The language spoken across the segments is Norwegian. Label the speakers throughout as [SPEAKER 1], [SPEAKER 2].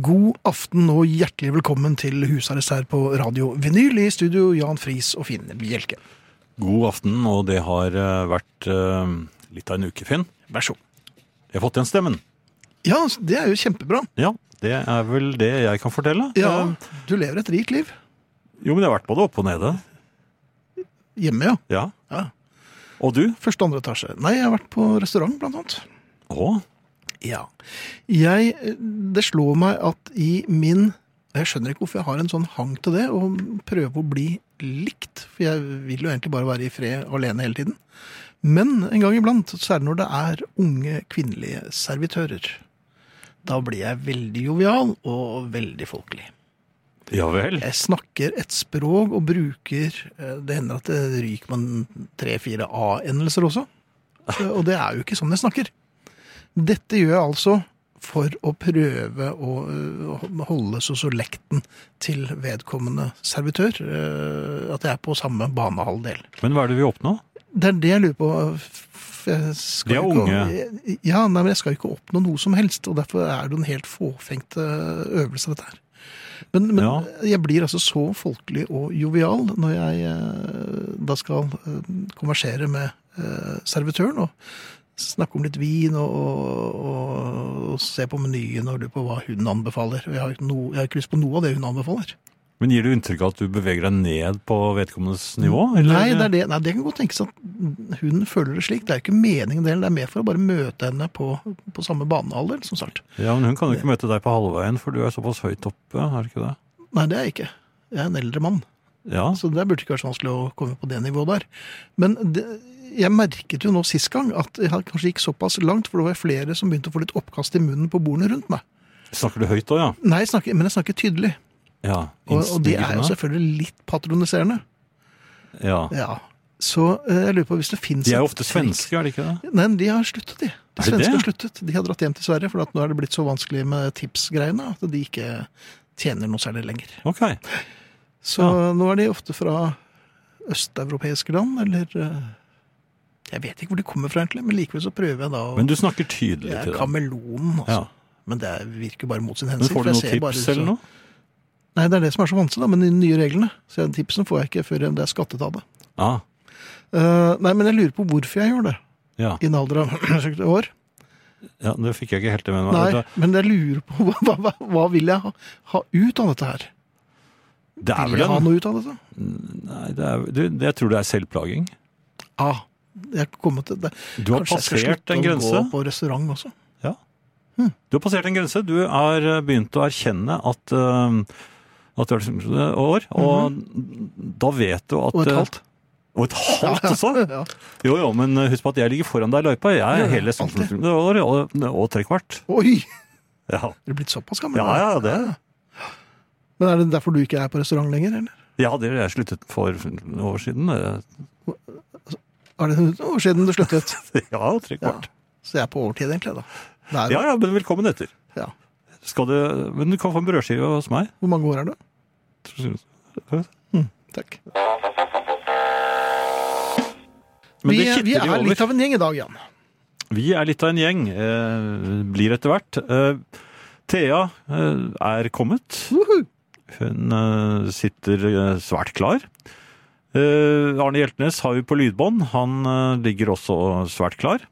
[SPEAKER 1] God aften og hjertelig velkommen til husarrest her på Radio Vinyl. I studio Jan Friis og Finn Bjelke.
[SPEAKER 2] God aften, og det har eh, vært eh, litt av en uke, Finn.
[SPEAKER 1] Vær så god.
[SPEAKER 2] Jeg har fått igjen stemmen.
[SPEAKER 1] Ja, det er jo kjempebra.
[SPEAKER 2] Ja, det er vel det jeg kan fortelle.
[SPEAKER 1] Ja,
[SPEAKER 2] Eh,
[SPEAKER 1] Du lever et rikt liv.
[SPEAKER 2] Jo, men jeg har vært både oppe og nede.
[SPEAKER 1] Hjemme, ja.
[SPEAKER 2] Ja.
[SPEAKER 1] Ja.
[SPEAKER 2] Og du?
[SPEAKER 1] Første og andre etasje. Nei, jeg har vært på restaurant, blant annet.
[SPEAKER 2] Å,
[SPEAKER 1] Ja. Jeg, det slår meg at i min Jeg skjønner ikke hvorfor jeg har en sånn hang til det, å prøve å bli likt. For jeg vil jo egentlig bare være i fred alene hele tiden. Men en gang iblant, særlig når det er unge kvinnelige servitører. Da blir jeg veldig jovial og veldig folkelig.
[SPEAKER 2] ja vel.
[SPEAKER 1] Jeg snakker et språk og bruker eh, Det hender at det ryker man tre-fire A-endelser også. Eh, Og det er jo ikke sånn jeg snakker. Dette gjør jeg altså for å prøve å eh, holde sosolekten til vedkommende servitør. eh, At jeg er på samme banehalvdel.
[SPEAKER 2] Men hva er det vi oppnå?
[SPEAKER 1] Det er det jeg lurer på. F- Jeg skal
[SPEAKER 2] De er
[SPEAKER 1] ikke-
[SPEAKER 2] unge.
[SPEAKER 1] Ja, nei, men jeg skal ikke oppnå noe som helst, og derfor er det en helt fåfengt eh, øvelse, dette her. Men, men
[SPEAKER 2] Ja.
[SPEAKER 1] jeg blir altså så folkelig og jovial når jeg eh, da skal eh, konversere med eh, servitøren og snakke om litt vin og, og, og, og se på menyen og lure på hva hun anbefaler. Og Jeg har, ikke no, jeg har ikke lyst på noe av det hun anbefaler.
[SPEAKER 2] Men gir du inntrykk av at du beveger deg ned på vedkommendes nivå? eller?
[SPEAKER 1] Nei, det, er det. Nei, det kan godt tenkes at hun føler det slik. Det er jo ikke meningen det, det er mer for å bare møte henne på, på samme banehalvdel, som sagt.
[SPEAKER 2] Ja, men hun kan jo ikke møte deg på halvveien, for du er såpass høyt oppe, er du ikke det?
[SPEAKER 1] Nei, det er jeg ikke. Jeg er en eldre mann,
[SPEAKER 2] Ja,
[SPEAKER 1] så det burde ikke vært så vanskelig å komme på det nivået der. Men det, jeg merket jo nå sist gang at jeg kanskje gikk såpass langt, for det var flere som begynte å få litt oppkast i munnen på bordene rundt meg.
[SPEAKER 2] snakker du høyt også, ja?
[SPEAKER 1] Nei, jeg snakker, men jeg snakker tydelig.
[SPEAKER 2] Ja,
[SPEAKER 1] Og, og det er jo
[SPEAKER 2] innstigende.
[SPEAKER 1] selvfølgelig litt patroniserende.
[SPEAKER 2] Ja.
[SPEAKER 1] Ja. Så eh, jeg lurer på hvis det fins
[SPEAKER 2] De er jo ofte svenske, er de ikke det?
[SPEAKER 1] Nei, men de har sluttet, de. De
[SPEAKER 2] Er det
[SPEAKER 1] svenske
[SPEAKER 2] det?
[SPEAKER 1] har sluttet. De har dratt hjem til Sverige, for at nå er det blitt så vanskelig med tipsgreiene at de ikke tjener noe særlig lenger.
[SPEAKER 2] Ok.
[SPEAKER 1] Så nå er de ofte fra østeuropeiske land, eller eh, Jeg vet ikke hvor de kommer fra, egentlig, men likevel så prøver jeg da å
[SPEAKER 2] Men du snakker tydelig
[SPEAKER 1] Jeg er
[SPEAKER 2] til dem.
[SPEAKER 1] kameleon, altså.
[SPEAKER 2] Ja.
[SPEAKER 1] Men det virker bare mot sin
[SPEAKER 2] Men
[SPEAKER 1] hensikt.
[SPEAKER 2] får du
[SPEAKER 1] for jeg
[SPEAKER 2] noen
[SPEAKER 1] ser bare
[SPEAKER 2] tips
[SPEAKER 1] så-
[SPEAKER 2] eller noe?
[SPEAKER 1] Nei, det er det som er så vanskelig da, med de nye reglene. Så jeg- tipsene får jeg ikke før det er skattet av det.
[SPEAKER 2] Ja,
[SPEAKER 1] Eh, nei, men jeg lurer på hvorfor jeg gjør det,
[SPEAKER 2] ja.
[SPEAKER 1] i en alder av 70 år.
[SPEAKER 2] ja det fikk jeg ikke helt med meg.
[SPEAKER 1] Nei, men jeg lurer på hva, hva- hva, hva vil jeg ha, ha ut av dette her?
[SPEAKER 2] Det er
[SPEAKER 1] Vil
[SPEAKER 2] vel
[SPEAKER 1] jeg ha
[SPEAKER 2] en
[SPEAKER 1] noe ut av dette?
[SPEAKER 2] Nei, det er, du, det- jeg tror det er selvplaging.
[SPEAKER 1] Ja, jeg har kommet til det.
[SPEAKER 2] Du har
[SPEAKER 1] Kanskje jeg skal
[SPEAKER 2] passert
[SPEAKER 1] slutte
[SPEAKER 2] en
[SPEAKER 1] å
[SPEAKER 2] grense.
[SPEAKER 1] Gå på restaurant også.
[SPEAKER 2] Du har passert en grense. Du er eh, begynt å erkjenne at, eh, at du er 17 år, og da vet du at
[SPEAKER 1] Mhm. Og et
[SPEAKER 2] eh,
[SPEAKER 1] halvt.
[SPEAKER 2] Og et halvt også?
[SPEAKER 1] Ja.
[SPEAKER 2] Jo, jo, men eh, husk på at jeg ligger foran deg i løypa. Jeg
[SPEAKER 1] Ja,
[SPEAKER 2] er
[SPEAKER 1] ja,
[SPEAKER 2] hele 17 år og, og tre kvart.
[SPEAKER 1] Oi, er
[SPEAKER 2] Ja.
[SPEAKER 1] du blitt såpass gammel?
[SPEAKER 2] ja,
[SPEAKER 1] da?
[SPEAKER 2] ja, det.
[SPEAKER 1] Men er det derfor du ikke er på restaurant lenger, eller?
[SPEAKER 2] Ja, det har jeg sluttet for noen år siden. Eh,
[SPEAKER 1] Er det noen år siden du sluttet?
[SPEAKER 2] Ja, tre kvart.
[SPEAKER 1] Så jeg er på overtid egentlig, da. Det er,
[SPEAKER 2] Ja, ja, men velkommen etter.
[SPEAKER 1] Ja.
[SPEAKER 2] Skal du, men du kan få en brødskive hos meg.
[SPEAKER 1] Hvor mange år er du? Takk.
[SPEAKER 2] Men
[SPEAKER 1] vi,
[SPEAKER 2] det kitter
[SPEAKER 1] vi
[SPEAKER 2] jo
[SPEAKER 1] er
[SPEAKER 2] over.
[SPEAKER 1] litt av en gjeng i dag, Jan.
[SPEAKER 2] Vi er litt av en gjeng. Eh, blir etter hvert. Eh, Thea eh, er kommet.
[SPEAKER 1] Woohoo!
[SPEAKER 2] Hun eh, sitter eh, svært klar. Eh, Arne Hjeltnes har vi på lydbånd. Han eh, ligger også svært klar.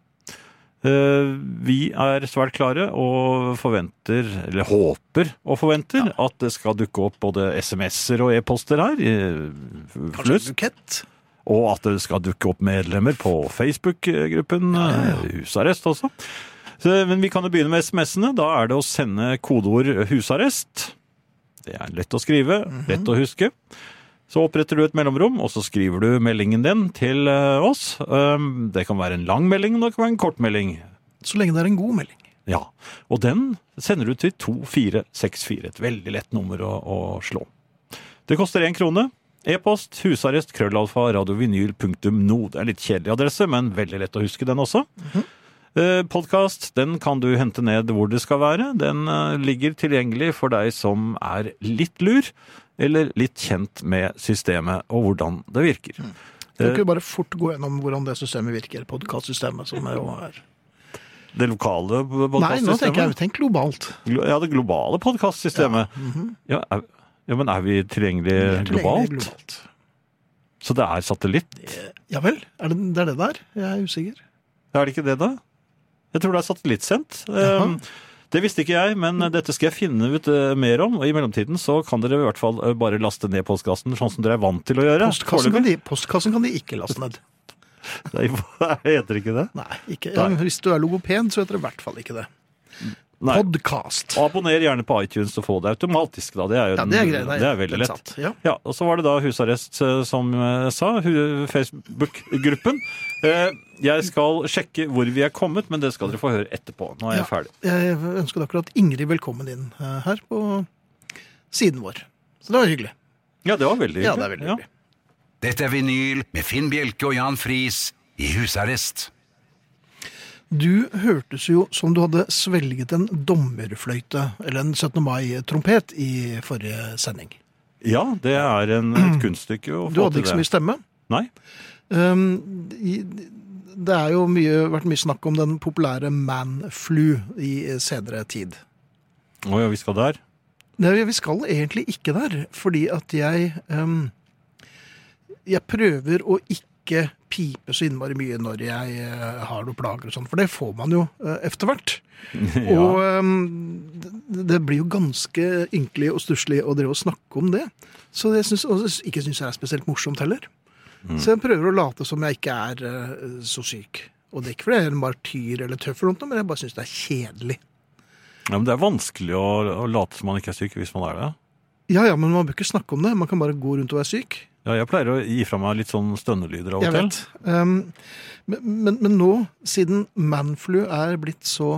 [SPEAKER 2] Eh, vi er svært klare og forventer, eller håper og forventer, at det skal dukke opp både SMS-er og e-poster her. eh,
[SPEAKER 1] Kanskje
[SPEAKER 2] Flust.
[SPEAKER 1] en bukett?
[SPEAKER 2] Og at det skal dukke opp medlemmer på Facebook-gruppen eh, Husarrest også. Så, men vi kan jo begynne med SMS-ene. Da er det å eh, sende kodeord 'husarrest'. Det er lett å skrive, lett å huske. Så oppretter du et mellomrom, og så skriver du meldingen din til eh, oss. Um, Det kan være en lang melding, og det kan være en kort melding.
[SPEAKER 1] Så lenge det er en god melding.
[SPEAKER 2] Ja, og den sender du til 2464. Et veldig lett nummer å, å slå. Det koster én krone. E-post husarrest krøllalfa radiovinyl.no. Det er litt kjedelig adresse, men veldig lett å huske den også.
[SPEAKER 1] Mhm.
[SPEAKER 2] Eh, Podkast den kan du hente ned hvor det skal være. Den eh, ligger tilgjengelig for deg som er litt lur, eller litt kjent med systemet og hvordan det virker.
[SPEAKER 1] Mm.
[SPEAKER 2] Eh.
[SPEAKER 1] Kan ikke vi bare fort gå gjennom hvordan det systemet virker? Podkastsystemet som er jo er
[SPEAKER 2] Det lokale
[SPEAKER 1] Nei, nå
[SPEAKER 2] podkastsystemet?
[SPEAKER 1] tenker jeg tenk globalt.
[SPEAKER 2] Glo- Ja, det globale podkastsystemet. Ja. er, ja, men er vi tilgjengelige
[SPEAKER 1] Tilgjengelig
[SPEAKER 2] Eh, globalt?
[SPEAKER 1] globalt. Eh,
[SPEAKER 2] Så det er satellitt?
[SPEAKER 1] Ja vel? Er det det er det der? Jeg er usikker.
[SPEAKER 2] Er det ikke det, da? Jeg tror det er satellittsendt.
[SPEAKER 1] Jaha.
[SPEAKER 2] Um, Det visste ikke jeg, men dette skal jeg finne ut eh, mer om. Og i mellomtiden så kan dere i hvert fall eh, bare laste ned postkassen, sånn som dere er vant til å gjøre.
[SPEAKER 1] Postkassen kan, de, postkassen kan de ikke laste ned.
[SPEAKER 2] Nei, hva- heter ikke det?
[SPEAKER 1] Nei, ikke. Ja,
[SPEAKER 2] Nei.
[SPEAKER 1] hvis du er logoped, så heter det i hvert fall ikke det.
[SPEAKER 2] Nei.
[SPEAKER 1] Podkast.
[SPEAKER 2] Og Abonner gjerne på iTunes og få det automatisk, da. Det er, jo
[SPEAKER 1] Ja,
[SPEAKER 2] den-
[SPEAKER 1] det er greit.
[SPEAKER 2] det er veldig
[SPEAKER 1] helt
[SPEAKER 2] lett.
[SPEAKER 1] sant. Ja.
[SPEAKER 2] Ja, og så var det da husarrest, eh, som jeg sa, hu- Facebook-gruppen. Eh, Jeg skal sjekke hvor vi er kommet, men det skal dere få høre etterpå. Nå er jeg
[SPEAKER 1] Ja.
[SPEAKER 2] ferdig.
[SPEAKER 1] Jeg ønsker akkurat Ingrid velkommen inn eh, her på siden vår. Så det var hyggelig.
[SPEAKER 2] Ja, det var veldig
[SPEAKER 1] Ja, det er veldig hyggelig.
[SPEAKER 3] Dette er vinyl med Finn Bjelke og Jan Friis i husarrest.
[SPEAKER 1] Du hørtes jo som du hadde svelget en dommerfløyte, eller en 17. mai-trompet, i forrige sending.
[SPEAKER 2] Ja, det er en, et kunststykke å
[SPEAKER 1] Mm. Du
[SPEAKER 2] få
[SPEAKER 1] hadde
[SPEAKER 2] til
[SPEAKER 1] ikke så
[SPEAKER 2] det.
[SPEAKER 1] mye stemme.
[SPEAKER 2] Nei,
[SPEAKER 1] Um, i- det er jo mye, vært mye snakk om den populære man-flu i senere tid.
[SPEAKER 2] Å ja, vi skal der.
[SPEAKER 1] Nei, vi skal egentlig ikke der, fordi at jeg ehm, Jeg prøver å ikke pipe så innmari mye når jeg eh, har noen plager og sånn, for det får man jo eh, etter hvert.
[SPEAKER 2] Ja.
[SPEAKER 1] Og ehm, det, det blir jo ganske ynkelig og stusslig å drive og snakke om det. Så det syns, og det ikke syns jeg er spesielt morsomt heller. Så jeg prøver å late som jeg ikke er eh, så syk. Og det er ikke fordi jeg er en martyr eller tøff, eller noe, men jeg bare syns det er kjedelig.
[SPEAKER 2] ja, men det er vanskelig å, å late som man ikke er syk hvis man er det.
[SPEAKER 1] Ja ja, men man bør ikke snakke om det. Man kan bare gå rundt og være syk.
[SPEAKER 2] Ja, jeg pleier å gi fra meg litt sånn stønnelyder av og
[SPEAKER 1] Jeg
[SPEAKER 2] til.
[SPEAKER 1] vet. Um, men, men, men nå, siden manflu er blitt så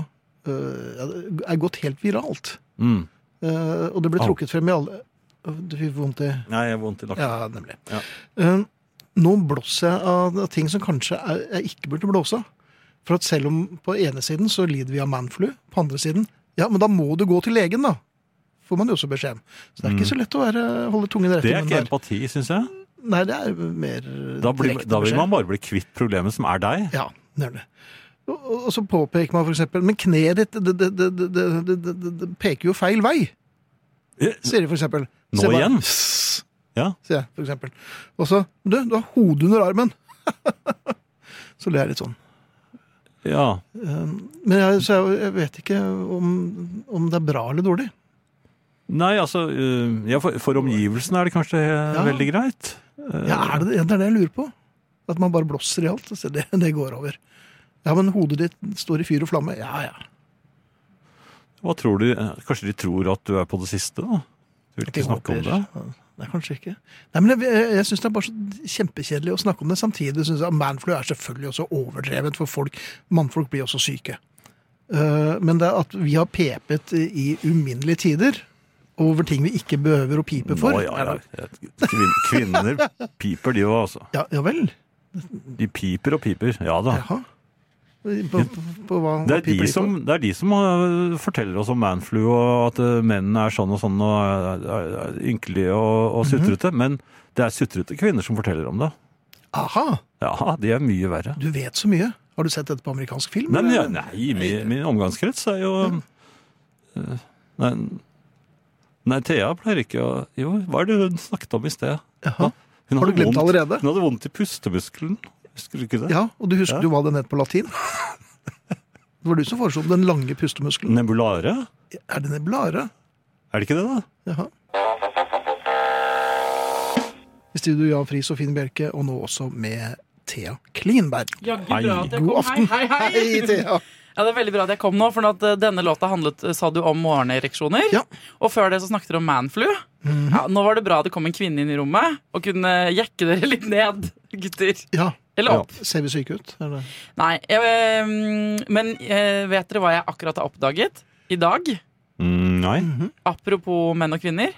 [SPEAKER 1] øh, ja, det Er gått helt viralt,
[SPEAKER 2] Mm.
[SPEAKER 1] øh, og det ble
[SPEAKER 2] Au.
[SPEAKER 1] trukket frem i alle Åh, Det fikk vondt i
[SPEAKER 2] Nei, jeg har vondt i nakken.
[SPEAKER 1] Ja, nemlig.
[SPEAKER 2] Ja.
[SPEAKER 1] Um, nå blåser jeg av av ting som kanskje er, jeg ikke burde blåse av. For at selv om på ene siden så lider vi av manflu, på andre siden Ja, men da må du gå til legen, da. Får man jo også beskjed om. Så det er ikke så lett å være, holde tungen rett i
[SPEAKER 2] Mm. Det er
[SPEAKER 1] munnen
[SPEAKER 2] ikke
[SPEAKER 1] der.
[SPEAKER 2] empati, syns jeg.
[SPEAKER 1] Nei, det er mer øh,
[SPEAKER 2] Da, blir,
[SPEAKER 1] direkte
[SPEAKER 2] da vil
[SPEAKER 1] beskjed.
[SPEAKER 2] man bare bli kvitt problemet som er deg.
[SPEAKER 1] Ja, nemlig. Og, og- og så påpeker man f.eks.: Men kneet ditt det, det, det, det, det, det, det, det, det peker jo feil vei, sier de f.eks.
[SPEAKER 2] Nå igjen? Ja.
[SPEAKER 1] Sier jeg, for eksempel. Og så Du, du har hodet under armen! så ler jeg litt sånn.
[SPEAKER 2] Ja.
[SPEAKER 1] Men jeg, så jeg, jeg vet ikke om, om det er bra eller dårlig.
[SPEAKER 2] Nei, altså øh, ja, for, for omgivelsene er det kanskje eh,
[SPEAKER 1] Ja.
[SPEAKER 2] veldig greit. Eh,
[SPEAKER 1] Ja, er det, det er det jeg lurer på. At man bare blåser i alt. Så det, det går over. Ja, men hodet ditt står i fyr og flamme. Ja, ja.
[SPEAKER 2] Hva tror du? eh, Kanskje de tror at du er på det siste? da? Du vil ikke snakke om det?
[SPEAKER 1] Nei, kanskje ikke. Nei, men Jeg, jeg syns det er bare så kjempekjedelig å snakke om det. Samtidig syns jeg at manflu er selvfølgelig også overdrevet, for folk, mannfolk blir også syke. Eh, men det at vi har pepet i uminnelige tider over ting vi ikke behøver å pipe for
[SPEAKER 2] Nå, ja,
[SPEAKER 1] er det-
[SPEAKER 2] ja. Kvin, kvinner piper, de òg, altså.
[SPEAKER 1] ja, ja vel?
[SPEAKER 2] De piper og piper. Ja da.
[SPEAKER 1] Jaha. På, på, på hva, hva
[SPEAKER 2] Det er,
[SPEAKER 1] piper på?
[SPEAKER 2] de som, det er de som øh, forteller oss om manflu og at øh, mennene er sånn og sånn og er- er- er ynkelige og, og sutrete. Men det er sutrete kvinner som forteller om det.
[SPEAKER 1] Aha!
[SPEAKER 2] Ja, de er mye verre.
[SPEAKER 1] Du vet så mye. Har du sett dette på amerikansk film?
[SPEAKER 2] Nei, men,
[SPEAKER 1] eller?
[SPEAKER 2] jeg- nei min, min omgangskrets er jo eh, Nei, nei Thea pleier ikke å Jo, hva er det hun snakket om i sted?
[SPEAKER 1] Jaha.
[SPEAKER 2] Hun
[SPEAKER 1] Har du
[SPEAKER 2] hadde
[SPEAKER 1] glemt
[SPEAKER 2] vondt-
[SPEAKER 1] allerede?
[SPEAKER 2] Hun hadde vondt i pustemuskelen. Husker du ikke det?
[SPEAKER 1] Ja, og du husker
[SPEAKER 2] Ja.
[SPEAKER 1] jo hva den het på latin? Det var du som foreslo den lange pustemuskelen.
[SPEAKER 2] Nebulare?
[SPEAKER 1] Er det neblare?
[SPEAKER 2] Er det ikke det, da?
[SPEAKER 1] Jaha. I studio Jan Friis og Finn Bjelke, og nå også med Thea Klinberg.
[SPEAKER 4] Jaggu
[SPEAKER 2] Hei.
[SPEAKER 4] bra at jeg
[SPEAKER 1] God
[SPEAKER 4] kom.
[SPEAKER 1] aften.
[SPEAKER 4] Hei, hei, hei.
[SPEAKER 1] Thea!
[SPEAKER 4] Ja, Det er veldig bra at jeg kom nå, for at eh, denne låta handlet eh, sa du, om morgenereksjoner.
[SPEAKER 1] Ja.
[SPEAKER 4] Og før det så snakket dere om manflu. Ja, nå var det bra det kom en kvinne inn i rommet og kunne eh, jekke dere litt ned, gutter.
[SPEAKER 1] Ja.
[SPEAKER 4] Eller opp.
[SPEAKER 1] Ser vi syke ut? Eller?
[SPEAKER 4] Nei, jeg, eh, men eh, vet dere hva jeg akkurat har oppdaget i dag?
[SPEAKER 2] Mm, nei.
[SPEAKER 1] Mhm.
[SPEAKER 4] Apropos menn og kvinner.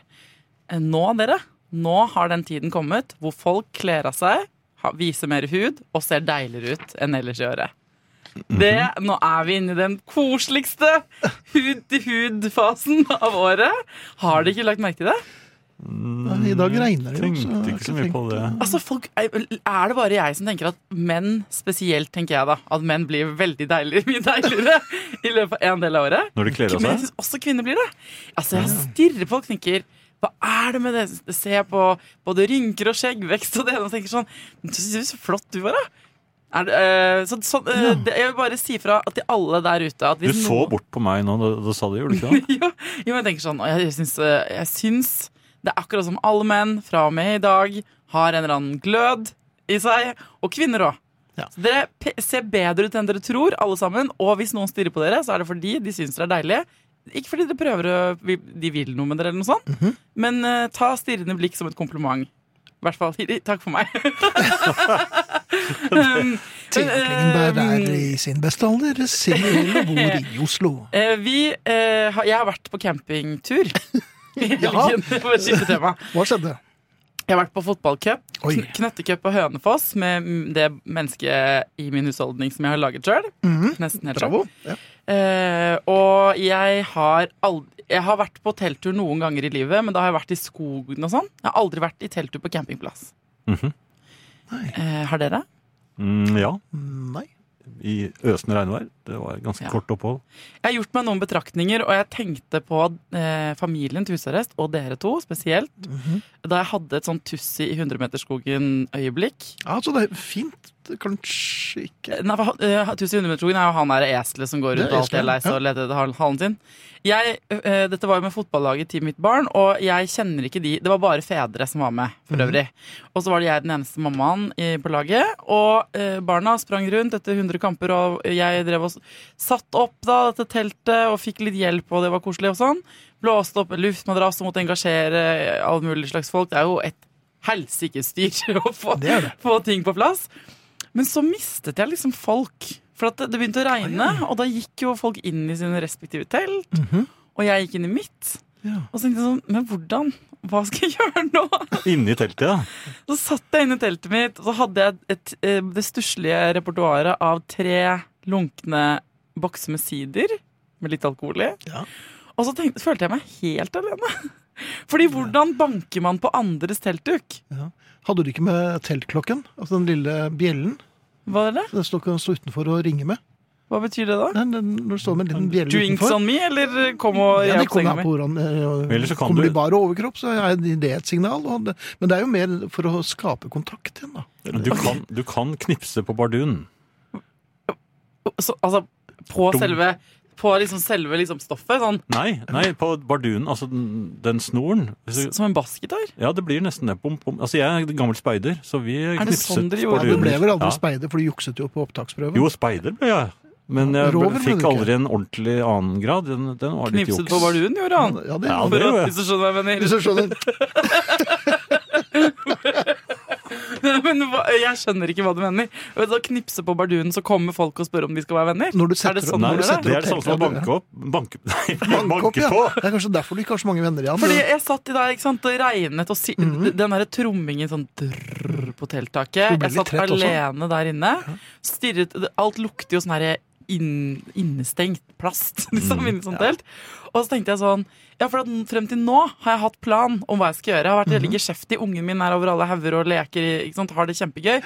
[SPEAKER 4] Eh, Nå, dere, nå har den tiden kommet hvor folk kler av seg, ha- viser mer hud og ser deiligere ut enn ellers i året. Det, nå er vi inne i den koseligste hud-til-hud-fasen av året. Har dere ikke lagt merke til det?
[SPEAKER 1] Nei, I dag regner det jo. så jeg
[SPEAKER 2] Mm,
[SPEAKER 1] har
[SPEAKER 2] Tenkte ikke så mye på
[SPEAKER 1] tenkt-
[SPEAKER 2] det.
[SPEAKER 4] Altså, folk, er er det bare jeg som tenker at menn spesielt, tenker jeg da, at menn blir veldig deiligere, mye deiligere i løpet av en del av året?
[SPEAKER 2] Når de kler av
[SPEAKER 4] Men
[SPEAKER 2] seg?
[SPEAKER 4] jeg synes også kvinner blir det. Altså, jeg stirrer på og tenker hva er det med det? Jeg ser på både rynker og skjeggvekst og det ene og tenker sånn Du ser så flott du var, da. Er det, eh, så, sånn, eh, det, jeg vil bare si fra til alle der ute at
[SPEAKER 2] Du
[SPEAKER 4] hvis
[SPEAKER 2] så
[SPEAKER 4] noen-
[SPEAKER 2] bort på meg nå da, da sa det, gjorde du ikke det?
[SPEAKER 4] jo, jo, jeg tenker sånn og jeg syns, eh, jeg syns det er akkurat som alle menn fra og med i dag har en eller annen glød i seg. Og kvinner òg.
[SPEAKER 1] Ja.
[SPEAKER 4] Dere pe- ser bedre ut enn dere tror, alle sammen. Og hvis noen stirrer på dere, så er det fordi de syns dere er deilige. Ikke fordi de prøver å vi- De vil noe med dere, eller noe sånt. Men eh, ta stirrende blikk som et kompliment. I hvert fall takk for meg. um, men, eh,
[SPEAKER 1] Klingberg er i sin beste alder, singel og bor i Oslo.
[SPEAKER 4] Eh, vi, eh, har- jeg har vært på campingtur. I helgen, for å skifte tema.
[SPEAKER 1] Hva skjedde?
[SPEAKER 4] Jeg har vært på fotballcup,
[SPEAKER 1] Oi.
[SPEAKER 4] kn- knøttecup på Hønefoss med mm, det mennesket i min husholdning som jeg har laget sjøl. Nesten
[SPEAKER 1] Mhm.
[SPEAKER 4] helt sjøl.
[SPEAKER 1] Bravo. Ja.
[SPEAKER 4] Eh, og jeg har aldri Jeg har vært på telttur noen ganger i livet, men da har jeg vært i skogen og sånn. Jeg har aldri vært i telttur på campingplass.
[SPEAKER 2] Mhm.
[SPEAKER 4] eh, har dere?
[SPEAKER 2] Mm, ja.
[SPEAKER 1] Nei.
[SPEAKER 2] I øsende regnvær. Det var et ganske
[SPEAKER 4] Ja.
[SPEAKER 2] kort opphold.
[SPEAKER 4] Jeg har gjort meg noen betraktninger, og jeg tenkte på eh, familien til husarrest, og dere to spesielt, da jeg hadde et sånn Tussi i 100-meterskogen-øyeblikk.
[SPEAKER 1] Ja, så det er fint. Kanskje ikke
[SPEAKER 4] Nei, for, eh, Tussi i 100-meterskogen er jo han der eselet som går
[SPEAKER 1] Det er
[SPEAKER 4] rundt og alltid er
[SPEAKER 1] eselet,
[SPEAKER 4] lei seg
[SPEAKER 1] ja.
[SPEAKER 4] og leter etter hal- halen sin. Jeg, eh, dette var jo med fotballaget til mitt barn, og jeg kjenner ikke de Det var bare fedre som var med, for
[SPEAKER 1] Mhm.
[SPEAKER 4] øvrig. Og så var det jeg den eneste mammaen i, på laget, og eh, barna sprang rundt etter 100 kamper, og jeg drev og s- satt opp da dette teltet og fikk litt hjelp, og det var koselig og sånn. Blåste opp en luftmadrass og måtte engasjere alle mulige slags folk. Det er jo et helsikes styr å få,
[SPEAKER 1] Det er det.
[SPEAKER 4] få ting på plass. Men så mistet jeg liksom folk. For at det, det begynte å regne, og da gikk jo folk inn i sine respektive telt. Og jeg gikk inn i mitt.
[SPEAKER 1] Mhm. Ja.
[SPEAKER 4] Og så tenkte jeg sånn Men hvordan? Hva skal jeg gjøre nå?
[SPEAKER 2] Inni teltet, ja.
[SPEAKER 4] Så satt jeg inne i teltet mitt, og så hadde jeg et, eh, det stusslige repertoaret av tre lunkne bokser med sider med litt alkohol i.
[SPEAKER 1] Ja.
[SPEAKER 4] Og så tenkte, følte jeg meg helt alene. Fordi hvordan banker man på andres teltduk?
[SPEAKER 1] Hadde du ikke med teltklokken? Altså den lille bjellen?
[SPEAKER 4] Hva, er det?
[SPEAKER 1] Den står kan stå utenfor og ringe med?
[SPEAKER 4] Hva betyr det da?
[SPEAKER 1] Nei, den, når det står med en liten bjelle
[SPEAKER 4] Drinks
[SPEAKER 1] utenfor
[SPEAKER 4] on me, eller kom og
[SPEAKER 1] ja,
[SPEAKER 4] rev
[SPEAKER 1] de
[SPEAKER 4] opp
[SPEAKER 1] kommer
[SPEAKER 4] senga
[SPEAKER 1] an
[SPEAKER 4] mi?
[SPEAKER 1] på hvordan eh,
[SPEAKER 2] Ellers så kan
[SPEAKER 1] Kommer
[SPEAKER 2] du-
[SPEAKER 1] de bare overkropp, så er det et signal. Og det, men det er jo mer for å skape kontakt igjen, da.
[SPEAKER 2] Du kan, du kan knipse på bardunen.
[SPEAKER 4] så, altså, på
[SPEAKER 2] Dum.
[SPEAKER 4] selve, på liksom selve liksom stoffet, sånn,
[SPEAKER 2] Nei, nei, på bardunen, altså den, den snoren. Hvis du-
[SPEAKER 4] som en bassgitar.
[SPEAKER 2] Ja, det blir nesten det. Bom, bom. Altså, jeg er gammel speider, så vi
[SPEAKER 4] det
[SPEAKER 2] knipset
[SPEAKER 4] sånn dere gjorde?
[SPEAKER 2] barduner.
[SPEAKER 1] Du ble vel aldri
[SPEAKER 2] Ja.
[SPEAKER 1] speider, for du jukset jo på opptaksprøven.
[SPEAKER 2] Jo, speider ble jeg. Men jeg
[SPEAKER 1] Rover ble du
[SPEAKER 2] fikk
[SPEAKER 1] ikke.
[SPEAKER 2] aldri en ordentlig annen grad. Den, den var litt
[SPEAKER 4] Knipset
[SPEAKER 2] juks.
[SPEAKER 4] på barduen, gjorde han.
[SPEAKER 1] Ja, det,
[SPEAKER 2] Ja, det
[SPEAKER 4] For å-
[SPEAKER 2] gjorde jeg.
[SPEAKER 4] Hvis du skjønner hva jeg
[SPEAKER 1] Hvis
[SPEAKER 4] mener.
[SPEAKER 1] du skjønner.
[SPEAKER 4] Men hva, jeg skjønner ikke hva du mener. Og så knipse på barduen, så kommer folk og spør om de skal være venner.
[SPEAKER 1] Når du
[SPEAKER 4] er det
[SPEAKER 1] setter opp-
[SPEAKER 4] sånn
[SPEAKER 2] Nei,
[SPEAKER 1] når du
[SPEAKER 4] det er?
[SPEAKER 1] setter
[SPEAKER 2] det er
[SPEAKER 1] opp
[SPEAKER 2] det samme
[SPEAKER 1] teltlader,
[SPEAKER 2] som å banke
[SPEAKER 1] ja.
[SPEAKER 2] opp Banke, nei,
[SPEAKER 1] Bank opp,
[SPEAKER 2] banke
[SPEAKER 1] ja.
[SPEAKER 2] på!
[SPEAKER 1] Det er kanskje derfor du ikke har så mange venner igjen.
[SPEAKER 4] Fordi eh, jeg satt i dag, ikke sant, og regnet og si, den der trommingen sånn drrr på
[SPEAKER 1] Du
[SPEAKER 4] telttaket.
[SPEAKER 1] ble
[SPEAKER 4] Jeg
[SPEAKER 1] litt
[SPEAKER 4] satt
[SPEAKER 1] trett også.
[SPEAKER 4] alene der inne. Stirret, alt lukter jo sånn her inn, innestengt plast, liksom,
[SPEAKER 1] Mm.
[SPEAKER 4] inni sånt telt. Og så tenkte jeg sånn, ja, for at frem til nå har jeg hatt plan om hva jeg skal gjøre. Jeg har
[SPEAKER 1] Mhm.
[SPEAKER 4] vært veldig geskjeftig, ungen min er over alle hauger og leker, i- ikke sant, har det kjempegøy.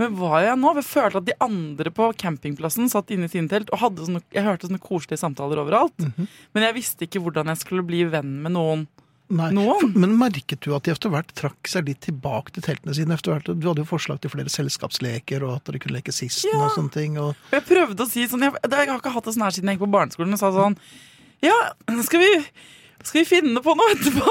[SPEAKER 4] Men hva gjør jeg nå? Jeg følte at de andre på campingplassen satt inne i sine telt, og hadde sånne, jeg hørte sånne koselige samtaler overalt.
[SPEAKER 1] Mhm.
[SPEAKER 4] Men jeg visste ikke hvordan jeg skulle bli venn med noen
[SPEAKER 1] Nei.
[SPEAKER 4] Noen.
[SPEAKER 1] For- Men merket du at de etter hvert trakk seg litt tilbake til teltene sine? etter hvert? Du hadde jo forslag til flere selskapsleker, og at dere kunne leke sisten og sånne ting. Og...
[SPEAKER 4] Og jeg prøvde å si sånn Jeg, det- jeg har ikke hatt det sånn her siden jeg gikk på barneskolen og sa sånn Ja, skal vi, skal vi finne på noe etterpå?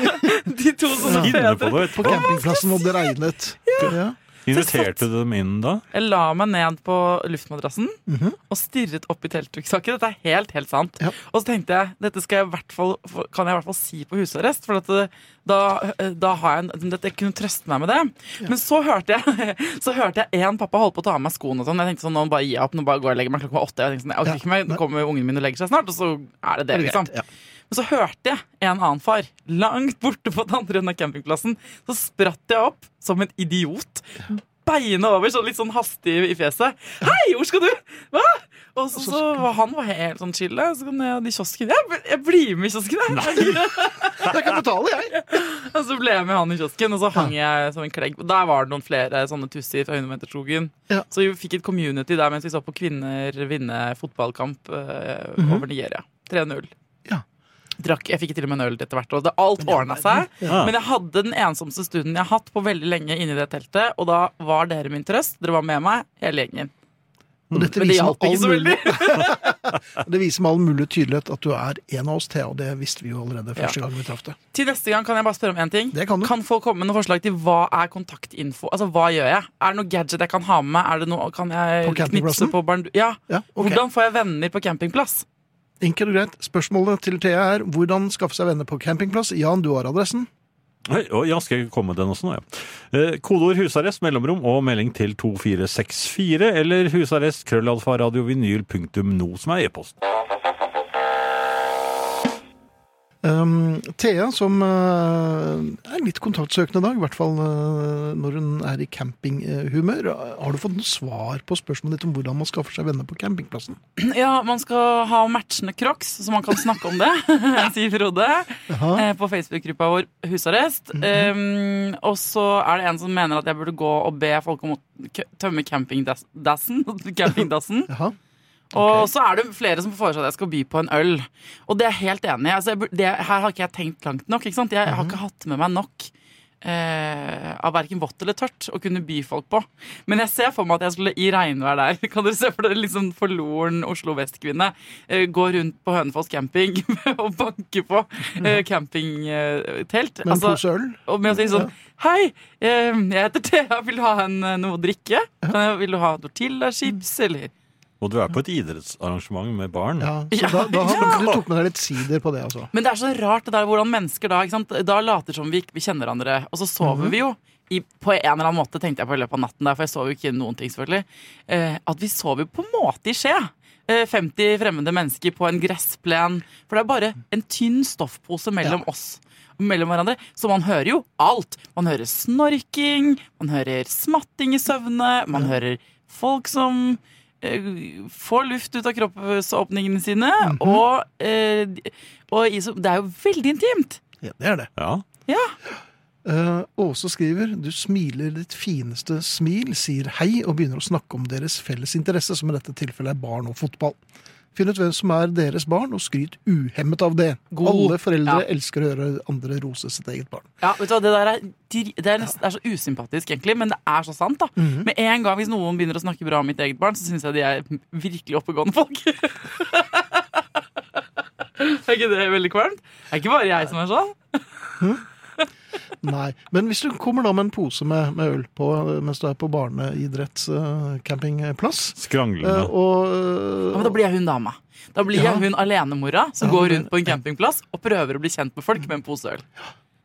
[SPEAKER 4] De to sånne
[SPEAKER 2] Finne på
[SPEAKER 4] fedre.
[SPEAKER 2] det
[SPEAKER 1] På
[SPEAKER 2] etterpå.
[SPEAKER 1] campingplassen hvor det regnet. Ja.
[SPEAKER 2] Inviterte du dem inn da?
[SPEAKER 4] Jeg la meg ned på luftmadrassen
[SPEAKER 1] Mhm.
[SPEAKER 4] og stirret opp i teltdukksaken. Dette er helt, helt sant.
[SPEAKER 1] Ja.
[SPEAKER 4] Og så tenkte jeg dette skal jeg i hvert fall, kan jeg i hvert fall si på husarrest, for at eh, da, eh, da har jeg en, dette, jeg kunne trøste meg med det. Men så hørte jeg Så hørte jeg en pappa holdt på å ta av meg skoene og sånn. Jeg tenkte sånn, nå bare gir jeg opp, nå bare går jeg og legger meg klokka var åtte. Jeg tenkte sånn, jeg orker
[SPEAKER 1] Ja,
[SPEAKER 4] ikke mer, nå
[SPEAKER 1] nei.
[SPEAKER 4] kommer ungen min og legger seg snart, og så er det det, liksom.
[SPEAKER 1] Ja.
[SPEAKER 4] Men så hørte jeg en annen far langt borte på den andre enden av campingplassen. Så spratt jeg opp som en idiot. Beina over, sånn litt sånn hastig i fjeset. 'Hei, hvor skal du?' Hva? Og så, så var han var helt sånn chill. da. Så kom jeg ned i kiosken. Jeg, bl- jeg blir med i kiosken, jeg!
[SPEAKER 1] Jeg kan betale, jeg!
[SPEAKER 4] og så ble jeg med han i kiosken, og så hang jeg som en klegg. Og Der var det noen flere sånne tusser fra Hundemeterskogen.
[SPEAKER 1] Ja.
[SPEAKER 4] Så vi fikk et community der mens vi så på kvinner vinne fotballkamp eh, over Nigeria. 3-0.
[SPEAKER 1] Ja.
[SPEAKER 4] Drakk, jeg fikk til og med en øl etter hvert. Og det, alt ordna seg.
[SPEAKER 2] Ja.
[SPEAKER 4] Men jeg hadde den ensomste stunden jeg har hatt på veldig lenge inni det teltet. Og da var dere min trøst. Dere var med meg, hele gjengen.
[SPEAKER 1] Og dette
[SPEAKER 4] Men det
[SPEAKER 1] viser med
[SPEAKER 4] hjalp ikke
[SPEAKER 1] all
[SPEAKER 4] så
[SPEAKER 1] mulig,
[SPEAKER 4] veldig.
[SPEAKER 1] det viser med all mulig tydelighet at du er en av oss, Thea. Og det visste vi jo allerede første gang vi traff deg.
[SPEAKER 4] Til neste gang kan jeg bare spørre om én ting.
[SPEAKER 1] Det kan du.
[SPEAKER 4] folk komme med noen forslag til hva er kontaktinfo? Altså, hva gjør jeg? Er det noe gadget jeg kan ha med? Er det noe, kan jeg
[SPEAKER 1] På
[SPEAKER 4] knipse
[SPEAKER 1] campingplassen?
[SPEAKER 4] på barn... Ja.
[SPEAKER 1] Ja, ok.
[SPEAKER 4] Hvordan får jeg venner på campingplass?
[SPEAKER 1] Enkelt og greit. Spørsmålet til Thea er hvordan skaffe seg venner på campingplass. Jan, du har adressen.
[SPEAKER 2] Oi, oi, ja, skal jeg komme med den også nå, ja. Eh, Kodeord husarrest, mellomrom og melding til 2464 eller husarrest krøllalfa radiovinyl.no som er e-post.
[SPEAKER 1] Um, Thea, som eh, er litt kontaktsøkende i dag, i hvert fall eh, når hun er i campinghumør, har du fått noe svar på spørsmålet ditt om hvordan man skaffer seg venner på campingplassen?
[SPEAKER 4] Ja, man skal ha matchende crocs, så man kan snakke om det, sier Frode.
[SPEAKER 1] Jaha. Mhm.
[SPEAKER 4] eh, På Facebook-gruppa vår Husarrest. um, og så er det en som mener at jeg burde gå og be folk om å k- tømme campingdassen. campingdassen.
[SPEAKER 1] Jaha.
[SPEAKER 4] Og så er det flere som foreslår at jeg skal by på en øl. Og det er jeg helt enig i. Altså, jeg bur- det, her har ikke jeg tenkt langt nok. Ikke sant? Jeg har ikke hatt med meg nok eh, av verken vått eller tørt å kunne by folk på. Men jeg ser for meg at jeg skulle i regnvær der. Kan dere se for dere liksom forloren Oslo Vest-kvinne eh, gå rundt på Hønefoss camping og banke på eh, campingtelt? Altså,
[SPEAKER 1] Med en pose øl?
[SPEAKER 4] og med å si sånn Hei, eh, jeg heter Thea. Vil du ha en, eh, noe å drikke? Kan jeg, vil du ha tortilla chips, eller?
[SPEAKER 2] Og du er på et idrettsarrangement med barn.
[SPEAKER 1] Ja, så da, da har du tok med deg litt sider på det, altså.
[SPEAKER 4] Men det er så rart det der hvordan mennesker da ikke sant? Da later som vi ikke vi kjenner hverandre, og så sover vi jo. I, på en eller annen måte, tenkte jeg på i løpet av natten, der, for jeg sov jo ikke noen ting, selvfølgelig. Eh, at vi sover på en måte i skje. Eh, 50 fremmede mennesker på en gressplen. For det er bare en tynn stoffpose mellom oss. Mellom hverandre. Så man hører jo alt. Man hører snorking, man hører smatting i søvne, man hører folk som eh, får luft ut av kroppsåpningene sine, og, eh, og i, som- det er jo veldig intimt.
[SPEAKER 1] Ja, det er det.
[SPEAKER 2] Ja.
[SPEAKER 4] Ja.
[SPEAKER 1] Eh, Åse skriver du smiler ditt fineste smil, sier hei og begynner å snakke om deres felles interesse, som i dette tilfellet er barn og fotball. Finn ut hvem som er deres barn, og skryt uhemmet av det.
[SPEAKER 4] God.
[SPEAKER 1] Alle foreldre
[SPEAKER 4] Ja.
[SPEAKER 1] elsker å høre andre rose sitt eget barn.
[SPEAKER 4] ja vet du hva, det der er, dri- det, er nesten, det er så usympatisk, egentlig, men det er så sant. da Med en gang hvis noen begynner å snakke bra om mitt eget barn, så syns jeg de er virkelig oppegående folk. er ikke det veldig kvalmt? Det er ikke bare jeg som er sånn.
[SPEAKER 1] Nei, Men hvis du kommer da med en pose med, med øl på eh, mens du er på barneidrettscampingplass eh,
[SPEAKER 2] Skranglende.
[SPEAKER 4] Eh,
[SPEAKER 1] og
[SPEAKER 4] Ja, men da blir jeg hun dama. Da blir
[SPEAKER 1] Ja.
[SPEAKER 4] jeg hun alenemora som
[SPEAKER 1] Ja,
[SPEAKER 4] går
[SPEAKER 1] men-
[SPEAKER 4] rundt på en campingplass og prøver å bli kjent med folk med en pose øl.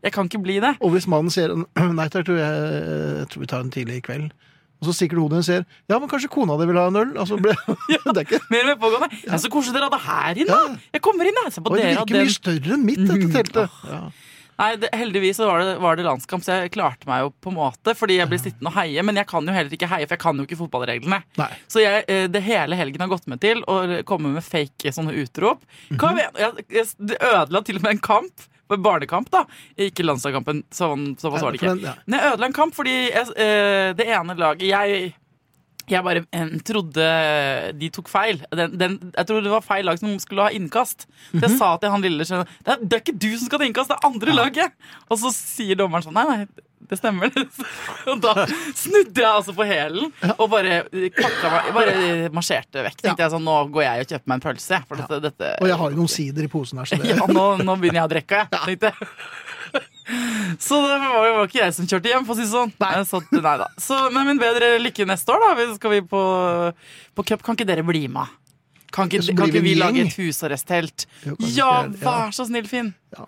[SPEAKER 4] Jeg kan ikke bli det.
[SPEAKER 1] Og hvis mannen sier Nei takk, du, jeg, jeg tror vi tar en tidlig i kveld. Og så stikker du hodet og sier Ja, men kanskje kona di vil ha en øl? Altså, ble, det er ikke
[SPEAKER 4] Mer og mer pågående. Det er så koselig dere hadde her inne.
[SPEAKER 1] Ja.
[SPEAKER 4] da. Jeg kommer inn, jeg. Se på
[SPEAKER 1] Oi, det
[SPEAKER 4] dere Mhm. og
[SPEAKER 1] virker
[SPEAKER 4] den.
[SPEAKER 1] mye større enn mitt, dette teltet.
[SPEAKER 4] Nei, det, heldigvis så var det, var det landskamp, så jeg klarte meg jo på en måte. Fordi jeg ble sittende og heie, men jeg kan jo heller ikke heie, for jeg kan jo ikke fotballreglene.
[SPEAKER 1] Nei.
[SPEAKER 4] Så jeg, eh, det hele helgen har gått med til å komme med fake eh, sånne utrop.
[SPEAKER 1] Mhm.
[SPEAKER 4] Kom igjen! Jeg, jeg, det ødela til og med en kamp. En barnekamp, da. Ikke landslagskampen. Sånn, såpass var det ikke.
[SPEAKER 1] Men, ja.
[SPEAKER 4] Men jeg ødela en kamp fordi jeg, eh, det ene laget Jeg, jeg bare eh, trodde de tok feil. Den, den, jeg tror det var feil lag som skulle ha innkast. Så jeg sa til han lille skjønne, det, er- det er ikke du som skal til innkast, det er andre laget! Og så sier dommeren sånn Nei, nei. Det stemmer. Og da snudde jeg altså på hælen og bare, pakka meg, bare marsjerte vekk. Tenkte jeg sånn, Nå går jeg og kjøper meg en pølse. jeg, For dette, dette
[SPEAKER 1] Og jeg har jo noen sider i posen her, så det
[SPEAKER 4] ja, nå, nå begynner jeg å drikke, jeg, tenkte jeg. Så det var jo var ikke jeg som kjørte hjem, for å si det sånn. Nei. Så, nei da. Så, nei, men bedre lykke neste år, da. Vi- Skal vi på, på cup? Kan ikke dere bli med? Kan ikke,
[SPEAKER 1] Så blir
[SPEAKER 4] kan
[SPEAKER 1] vi
[SPEAKER 4] ikke vi
[SPEAKER 1] en
[SPEAKER 4] lage
[SPEAKER 1] gjeng.
[SPEAKER 4] et husarresttelt?
[SPEAKER 1] Jo, kanskje
[SPEAKER 4] Ja,
[SPEAKER 1] ikke-
[SPEAKER 4] vær så snill, Finn.
[SPEAKER 1] ja,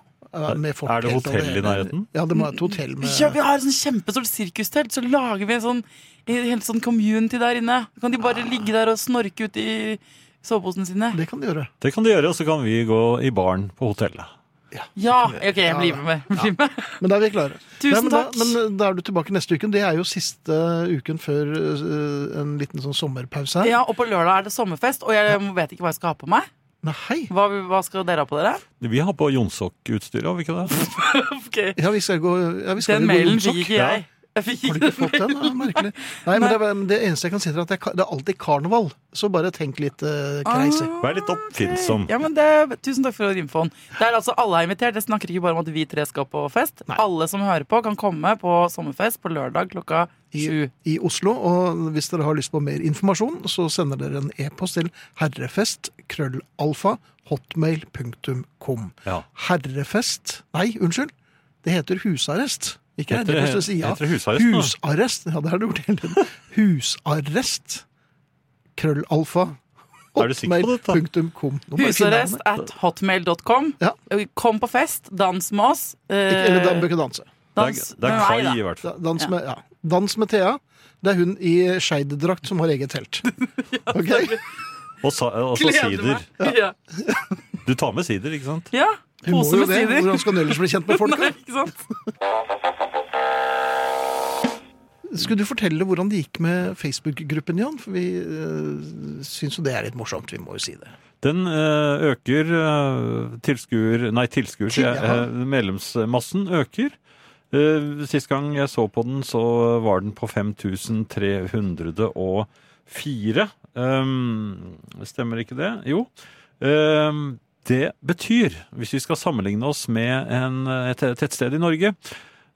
[SPEAKER 1] med folk
[SPEAKER 2] Er det
[SPEAKER 1] helt og
[SPEAKER 2] hotell i
[SPEAKER 1] hele.
[SPEAKER 2] nærheten?
[SPEAKER 1] Ja, det må være et hotell med
[SPEAKER 4] Ja, vi har et sånn kjempestort sirkustelt, så lager vi en sånn en helt sånn community der inne. Da kan de bare ligge der og snorke ut i soveposene sine.
[SPEAKER 1] Det kan de gjøre.
[SPEAKER 2] Det kan de gjøre, og så kan vi gå i baren på hotellet.
[SPEAKER 4] Ja, OK, jeg blir med. Bli med.
[SPEAKER 1] Men da er vi klare.
[SPEAKER 4] Tusen
[SPEAKER 1] Nei, men da-
[SPEAKER 4] takk.
[SPEAKER 1] men eh, da er du tilbake neste uke. Det er jo siste eh, uken før øh, en liten sånn sommerpause her.
[SPEAKER 4] Ja, og på lørdag er det sommerfest, og jeg vet ikke hva jeg skal ha på meg.
[SPEAKER 1] Nei, hei!
[SPEAKER 4] Hva, hva skal dere ha på dere?
[SPEAKER 2] Vi har på Jonsok-utstyret, har vi ikke det?
[SPEAKER 4] Ok.
[SPEAKER 1] Ja, vi skal gå ja, vi skal
[SPEAKER 4] Den
[SPEAKER 1] gå i
[SPEAKER 4] mailen
[SPEAKER 1] joggesokk.
[SPEAKER 4] fikk ikke jeg. jeg fikk
[SPEAKER 1] Har du ikke
[SPEAKER 4] ikke
[SPEAKER 1] fått den? Ja, merkelig. Nei, men det, er- men det eneste jeg kan si er at det er, ka- det er alltid karneval. Så bare tenk litt uh, crazy.
[SPEAKER 2] Vær litt
[SPEAKER 1] sånn.
[SPEAKER 2] oppfinnsom.
[SPEAKER 4] Ah. Ja, men det, tusen takk for infoen. Det er altså Alle er invitert. Jeg snakker ikke bare om at vi tre skal på fest. Alle som hører på, kan komme på sommerfest på lørdag klokka Ah, sju.
[SPEAKER 1] I, I Oslo. Og hvis dere har lyst på mer informasjon, så sender dere en e-post til herrefest.krøllalfa.hotmail.com.
[SPEAKER 2] Ja.
[SPEAKER 1] Herrefest Nei, unnskyld. Det heter husarrest. Ikke
[SPEAKER 2] Heter det-
[SPEAKER 1] herrefest, det sier ja.
[SPEAKER 2] heter det husarrest nå?
[SPEAKER 1] Husarrest. Ja, det har du gjort hele tiden. Husarrest. Krøllalfa.
[SPEAKER 2] Er du sikker på dette?
[SPEAKER 1] Hotmail.com. Nå må jeg finne
[SPEAKER 4] Husarrest
[SPEAKER 1] navnet.
[SPEAKER 4] at hotmail.com.
[SPEAKER 1] Ja.
[SPEAKER 4] Eh, Kom på fest, dans med oss. Eh,
[SPEAKER 1] Ikke- Eller da bør ikke danse.
[SPEAKER 2] Det
[SPEAKER 4] dans
[SPEAKER 2] er, det er
[SPEAKER 4] med meg,
[SPEAKER 2] kai,
[SPEAKER 4] da.
[SPEAKER 2] i hvert fall.
[SPEAKER 1] Da- Dans med, ja. dans med Thea. Det er hun i skeidedrakt som har eget telt. Ok?
[SPEAKER 2] Og, sa, og så sider.
[SPEAKER 4] Gleder meg. Ja.
[SPEAKER 2] Du tar med sider, ikke sant?
[SPEAKER 4] ja.
[SPEAKER 1] Hun må
[SPEAKER 4] Pose
[SPEAKER 1] jo
[SPEAKER 4] med
[SPEAKER 1] det.
[SPEAKER 4] sider.
[SPEAKER 1] Hvordan skal hun ellers bli kjent med folk?
[SPEAKER 4] Nei,
[SPEAKER 1] da?
[SPEAKER 4] ikke sant?
[SPEAKER 1] Skulle du fortelle hvordan det gikk med Facebook-gruppen, Jan? For vi øh, syns jo det er litt morsomt. Vi må jo si det.
[SPEAKER 2] Den eh, øker eh, tilskuer... Nei, tilskuer, sier jeg.
[SPEAKER 1] Ja.
[SPEAKER 2] Eh, medlemsmassen øker. Eh, sist gang jeg så på den, så var den på 5304. Um, stemmer ikke det? Jo. Um, det betyr, hvis vi skal sammenligne oss med en, et tettsted i Norge,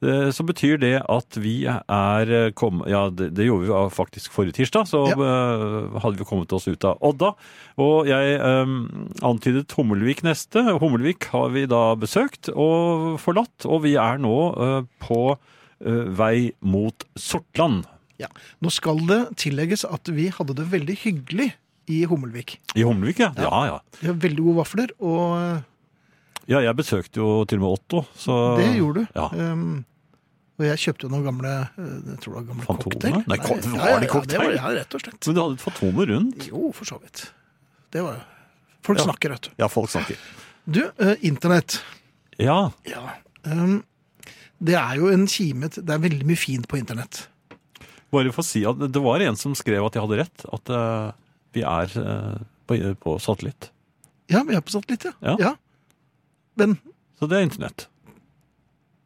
[SPEAKER 2] eh, så betyr det at vi er eh, kom, Ja, det, det gjorde vi jo faktisk forrige tirsdag. Så
[SPEAKER 1] Ja.
[SPEAKER 2] eh, hadde vi kommet oss ut av Odda. Og jeg em, antydet Hummelvik neste. Hummelvik har vi da besøkt og forlatt, og vi er nå eh, på eh, vei mot Sortland
[SPEAKER 1] Ja. Nå skal det tillegges at vi hadde det veldig hyggelig i Hummelvik.
[SPEAKER 2] i Hummelvik, ja. Ja, ja.
[SPEAKER 1] Vi har veldig gode vafler, og øh,
[SPEAKER 2] Ja, jeg besøkte jo til og med Otto, så
[SPEAKER 1] det gjorde du.
[SPEAKER 2] Ja.
[SPEAKER 1] Ehm, og jeg kjøpte jo noen gamle øh, jeg tror det var gamle
[SPEAKER 2] Fantomer?
[SPEAKER 1] cocktail.
[SPEAKER 2] Nei, ko- var
[SPEAKER 1] ja, ja,
[SPEAKER 2] det
[SPEAKER 1] Ja,
[SPEAKER 2] cocktail?
[SPEAKER 1] det var, ja, rett og slett.
[SPEAKER 2] Men du hadde et fatome rundt.
[SPEAKER 1] Jo, for så vidt. Det var jo Folk
[SPEAKER 2] Ja.
[SPEAKER 1] snakker, vet du.
[SPEAKER 2] Ja, folk snakker.
[SPEAKER 1] Du, øh, internett.
[SPEAKER 2] Ja,
[SPEAKER 1] Ja. ehm, det er jo en kime til Det er veldig mye fint på internett.
[SPEAKER 2] bare for å si at det var en som skrev at jeg hadde rett, at eh, vi er eh, på, på satellitt.
[SPEAKER 1] Ja, vi har på satellitt, ja.
[SPEAKER 2] Ja.
[SPEAKER 1] Men
[SPEAKER 2] Så det er internett.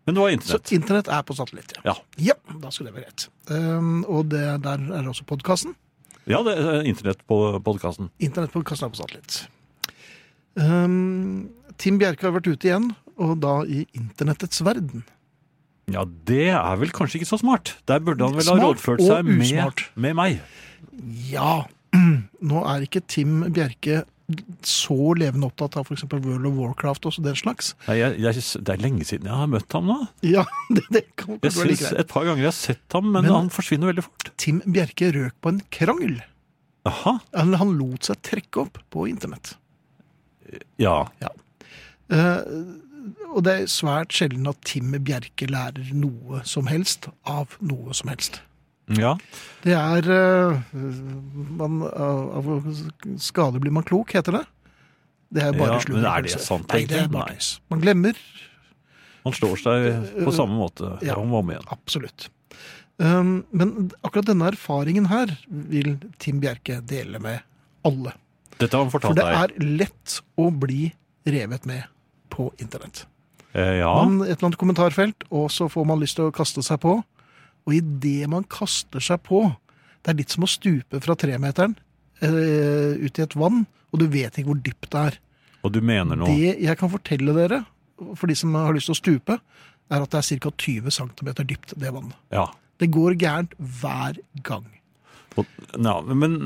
[SPEAKER 2] Men det var
[SPEAKER 1] så
[SPEAKER 2] internett.
[SPEAKER 1] internett er på satellitt, ja.
[SPEAKER 2] Ja,
[SPEAKER 1] Ja, da skulle det være rett. Ehm, og det, der er også podkasten.
[SPEAKER 2] ja det er internett på podkasten.
[SPEAKER 1] Internettpodkasten er på satellitt. Ehm, Tim Bjerke har vært ute igjen, og da i internettets verden.
[SPEAKER 2] Ja, det er vel kanskje ikke så smart. Der burde han vel ha
[SPEAKER 1] Smart
[SPEAKER 2] rådført
[SPEAKER 1] og
[SPEAKER 2] seg med,
[SPEAKER 1] usmart.
[SPEAKER 2] med meg.
[SPEAKER 1] Ja! Nå er ikke Tim Bjerke så levende opptatt av f.eks. World of Warcraft og den slags.
[SPEAKER 2] Nei, jeg, jeg, det er lenge siden jeg har møtt ham nå.
[SPEAKER 1] Ja, det, det kan
[SPEAKER 2] Jeg
[SPEAKER 1] kanskje være like
[SPEAKER 2] synes
[SPEAKER 1] greit.
[SPEAKER 2] Et par ganger jeg har sett ham, men,
[SPEAKER 1] Men-
[SPEAKER 2] han forsvinner veldig fort.
[SPEAKER 1] Tim Bjerke røk på en krangel.
[SPEAKER 2] Aha,
[SPEAKER 1] Han, han lot seg trekke opp på internett.
[SPEAKER 2] ja.
[SPEAKER 1] Eh, og det er svært sjelden at Tim Bjerke lærer noe som helst av noe som helst.
[SPEAKER 2] ja.
[SPEAKER 1] Det er eh, man, Av av skade blir man klok, heter det. Det er bare
[SPEAKER 2] Ja,
[SPEAKER 1] sludder,
[SPEAKER 2] men er det
[SPEAKER 1] kanskje.
[SPEAKER 2] sant,
[SPEAKER 1] Nei, det er
[SPEAKER 2] egentlig?
[SPEAKER 1] bare
[SPEAKER 2] Nei.
[SPEAKER 1] tøys. Man glemmer
[SPEAKER 2] Han slår seg på samme måte
[SPEAKER 1] Eh, Ja.
[SPEAKER 2] om og om igjen.
[SPEAKER 1] absolutt. Um, men akkurat denne erfaringen her vil Tim Bjerke dele med alle.
[SPEAKER 2] Dette har han
[SPEAKER 1] For
[SPEAKER 2] fortalt
[SPEAKER 1] det
[SPEAKER 2] deg.
[SPEAKER 1] er lett å bli revet med på internett.
[SPEAKER 2] Eh, ja.
[SPEAKER 1] man et eller annet kommentarfelt, og så får man lyst til å kaste seg på. Og idet man kaster seg på Det er litt som å stupe fra tremeteren eh, ut i et vann, og du vet ikke hvor dypt det er.
[SPEAKER 2] Og du mener noe.
[SPEAKER 1] Det jeg kan fortelle dere, for de som har lyst til å stupe, er at det er ca. 20 cm dypt, det vannet.
[SPEAKER 2] Ja.
[SPEAKER 1] Det går gærent hver gang.
[SPEAKER 2] Og, ja. Men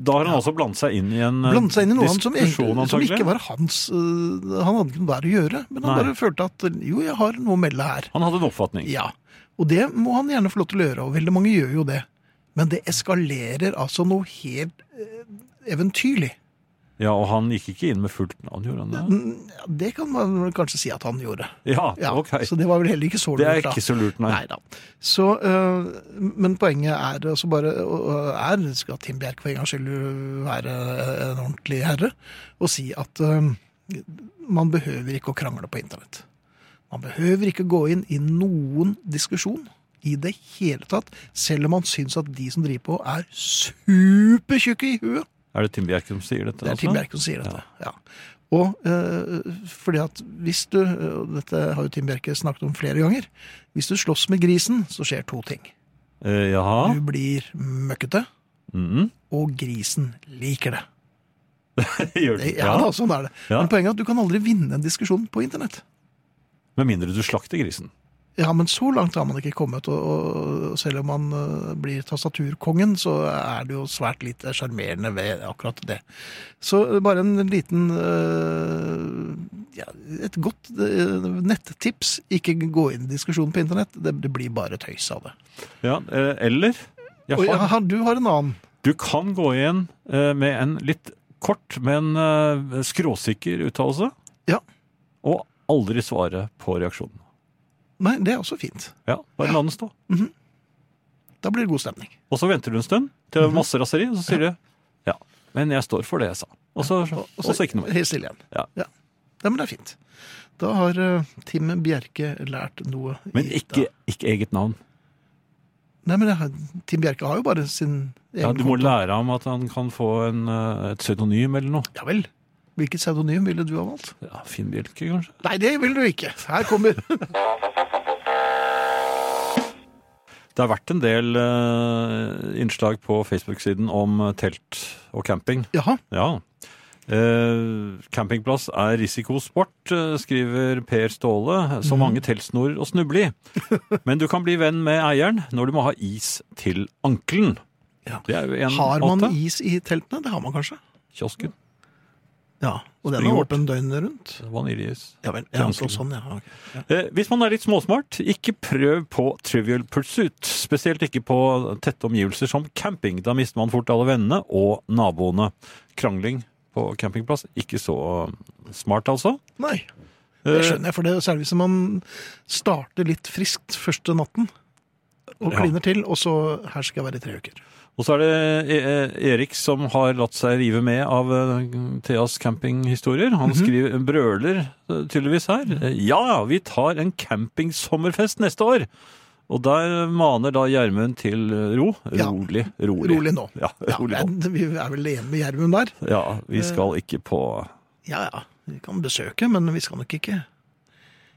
[SPEAKER 2] Da har han altså blandet seg inn i en eh,
[SPEAKER 1] Blandet seg inn i noe annet som,
[SPEAKER 2] diskusjon,
[SPEAKER 1] egentlig- som
[SPEAKER 2] antagelig.
[SPEAKER 1] ikke var hans øh, Han hadde ikke noe der å gjøre, men han
[SPEAKER 2] Nei.
[SPEAKER 1] bare følte at jo, jeg har noe å melde her.
[SPEAKER 2] Han hadde en oppfatning.
[SPEAKER 1] Ja, og det må han gjerne få lov til å gjøre, og veldig mange gjør jo det. Men det eskalerer altså noe helt eh, eventyrlig.
[SPEAKER 2] Ja, og han gikk ikke inn med fullt navn, gjorde han det?
[SPEAKER 1] Mm, ja, Det kan man vel kanskje si at han gjorde.
[SPEAKER 2] Ja,
[SPEAKER 1] Ja,
[SPEAKER 2] ok.
[SPEAKER 1] Så det var vel heller ikke så lurt.
[SPEAKER 2] Det er
[SPEAKER 1] da.
[SPEAKER 2] ikke så lurt, nei.
[SPEAKER 1] Neida. Så, øh, men poenget er altså bare øh, er, Skal Tim Bjerk for en gangs skyld være eh, en ordentlig herre og si at øh, man behøver ikke å krangle på internett. Man behøver ikke gå inn i noen diskusjon i det hele tatt, selv om man syns at de som driver på, er supertjukke i huet.
[SPEAKER 2] Er det Tim Bjerke som sier dette? altså?
[SPEAKER 1] Det er Tim Bjerke som sier dette. Ja. Og eh, fordi at hvis du, og dette har jo Tim Bjerke snakket om flere ganger, hvis du slåss med grisen, så skjer to ting.
[SPEAKER 2] Eh, jaha.
[SPEAKER 1] Du blir møkkete,
[SPEAKER 2] Mhm.
[SPEAKER 1] og grisen liker det.
[SPEAKER 2] Gjør
[SPEAKER 1] det
[SPEAKER 2] det.
[SPEAKER 1] ja, da, sånn er det.
[SPEAKER 2] Ja.
[SPEAKER 1] Men poenget er at du kan aldri vinne en diskusjon på internett.
[SPEAKER 2] Med mindre du slakter grisen.
[SPEAKER 1] Ja, men så langt har man ikke kommet, og, og selv om man eh, blir tastaturkongen, så er det jo svært lite sjarmerende ved akkurat det. Så bare en liten eh, ja, Et godt eh, nettips. Ikke gå inn i diskusjonen på internett. Det, det blir bare tøys av det.
[SPEAKER 2] Ja, eh, eller jeg
[SPEAKER 1] Og
[SPEAKER 2] har,
[SPEAKER 1] ja, du har en annen.
[SPEAKER 2] Du kan gå igjen eh, med en litt kort, men eh, skråsikker uttalelse.
[SPEAKER 1] Ja.
[SPEAKER 2] Og aldri svare på reaksjonen.
[SPEAKER 1] Nei, det er også fint.
[SPEAKER 2] Ja, Bare la den stå.
[SPEAKER 1] Da blir det god stemning.
[SPEAKER 2] Og så venter du en stund til det er masse raseri, og så sier du Mhm. ja, men jeg står for det jeg sa. Og så, og så, ikke noe mer.
[SPEAKER 1] Helt stille igjen.
[SPEAKER 2] Ja.
[SPEAKER 1] Ja. Ja, men det er fint. Da har eh, Tim Bjerke lært noe. i
[SPEAKER 2] Men
[SPEAKER 1] dag.
[SPEAKER 2] ikke, ikke eget navn.
[SPEAKER 1] Nei, men det, har- Tim Bjerke har jo bare sin egen
[SPEAKER 2] Ja, du må
[SPEAKER 1] konto.
[SPEAKER 2] lære ham at han kan få en, eh, et pseudonym eller noe.
[SPEAKER 1] Ja vel. Hvilket pseudonym ville du ha valgt?
[SPEAKER 2] Ja, Finn Bjelke, kanskje?
[SPEAKER 1] Nei, det vil du ikke. Her kommer
[SPEAKER 2] Det har vært en del eh, innslag på Facebook-siden om eh, telt og camping.
[SPEAKER 1] Jaha.
[SPEAKER 2] Ja. Eh, campingplass er risikosport, eh, skriver Per Ståle.
[SPEAKER 1] Mhm.
[SPEAKER 2] Så mange teltsnorer å snuble i. Men du kan bli venn med eieren når du må ha is til ankelen.
[SPEAKER 1] Ja.
[SPEAKER 2] Det er jo en
[SPEAKER 1] Har man
[SPEAKER 2] måte.
[SPEAKER 1] is i teltene? Det har man kanskje.
[SPEAKER 2] Kiosken.
[SPEAKER 1] Ja, Og den er
[SPEAKER 2] Springvort.
[SPEAKER 1] åpen døgnet rundt?
[SPEAKER 2] Vaniljeis.
[SPEAKER 1] Ja vel. Ja,
[SPEAKER 2] Kanskje.
[SPEAKER 1] så, sånn, ja. ok. ja.
[SPEAKER 2] Eh, hvis man er litt småsmart, ikke prøv på trivial pursuit. Spesielt ikke på tette omgivelser som camping. Da mister man fort alle vennene og naboene. Krangling på campingplass, ikke så smart, altså.
[SPEAKER 1] Nei, det
[SPEAKER 2] Eh,
[SPEAKER 1] skjønner jeg. For det er særlig hvis man starter litt friskt første natten. Og
[SPEAKER 2] Ja.
[SPEAKER 1] kliner til, og så her skal jeg være i tre uker.
[SPEAKER 2] Og så er det E- E- Erik som har latt seg rive med av eh, Theas campinghistorier.
[SPEAKER 1] Mhm.
[SPEAKER 2] Han skriver, brøler eh, tydeligvis her. eh, Ja, vi tar en campingsommerfest neste år! Og der maner da Gjermund til eh, ro.
[SPEAKER 1] Ja.
[SPEAKER 2] Rolig, rolig.
[SPEAKER 1] Rolig nå.
[SPEAKER 2] Ja,
[SPEAKER 1] Ja,
[SPEAKER 2] rolig nå.
[SPEAKER 1] men vi er vel enige med Gjermund der?
[SPEAKER 2] Ja, vi skal ikke på
[SPEAKER 1] Ja ja, vi kan besøke, men vi skal nok ikke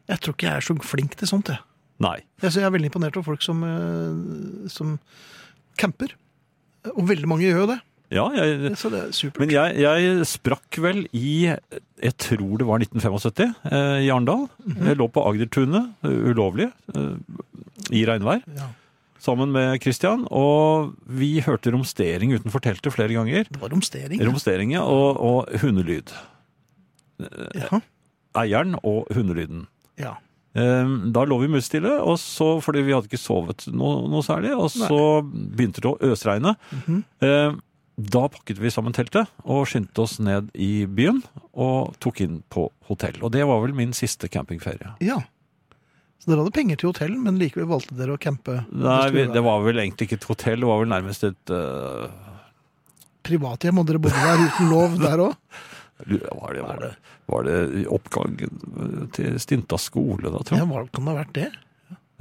[SPEAKER 1] Jeg tror ikke jeg er så flink til sånt, jeg.
[SPEAKER 2] Nei.
[SPEAKER 1] Jeg synes jeg er veldig imponert over folk som, eh, som camper. Og veldig mange gjør jo det.
[SPEAKER 2] Ja, jeg,
[SPEAKER 1] Så det er supert.
[SPEAKER 2] men jeg, jeg sprakk vel i Jeg tror det var 1975 eh, i Arendal. Jeg lå på Agdertunet, eh, ulovlig, eh, i regnvær.
[SPEAKER 1] Ja,
[SPEAKER 2] sammen med Christian, og vi hørte romstering utenfor teltet flere ganger.
[SPEAKER 1] det var romstering. ja.
[SPEAKER 2] Romstering ja, og, og hundelyd.
[SPEAKER 1] ja.
[SPEAKER 2] Eieren og hundelyden.
[SPEAKER 1] ja.
[SPEAKER 2] Ehm, Da lå vi musstille, og så, fordi vi hadde ikke sovet noe, noe særlig, og så begynte det å øsregne.
[SPEAKER 1] Mhm.
[SPEAKER 2] Ehm, Da pakket vi sammen teltet og skyndte oss ned i byen og tok inn på hotell. Og det var vel min siste campingferie.
[SPEAKER 1] ja. Så dere hadde penger til hotell, men likevel valgte dere å campe?
[SPEAKER 2] Nei, vi,
[SPEAKER 1] skulle være
[SPEAKER 2] det var vel egentlig ikke et hotell, det var vel nærmest et øh,
[SPEAKER 1] Privathjem, og dere bodde der uten lov der òg?
[SPEAKER 2] Var det, var det, var det oppgangen til Stinta skole da, tror
[SPEAKER 1] Ja,
[SPEAKER 2] jeg?
[SPEAKER 1] hva kan det ha vært det?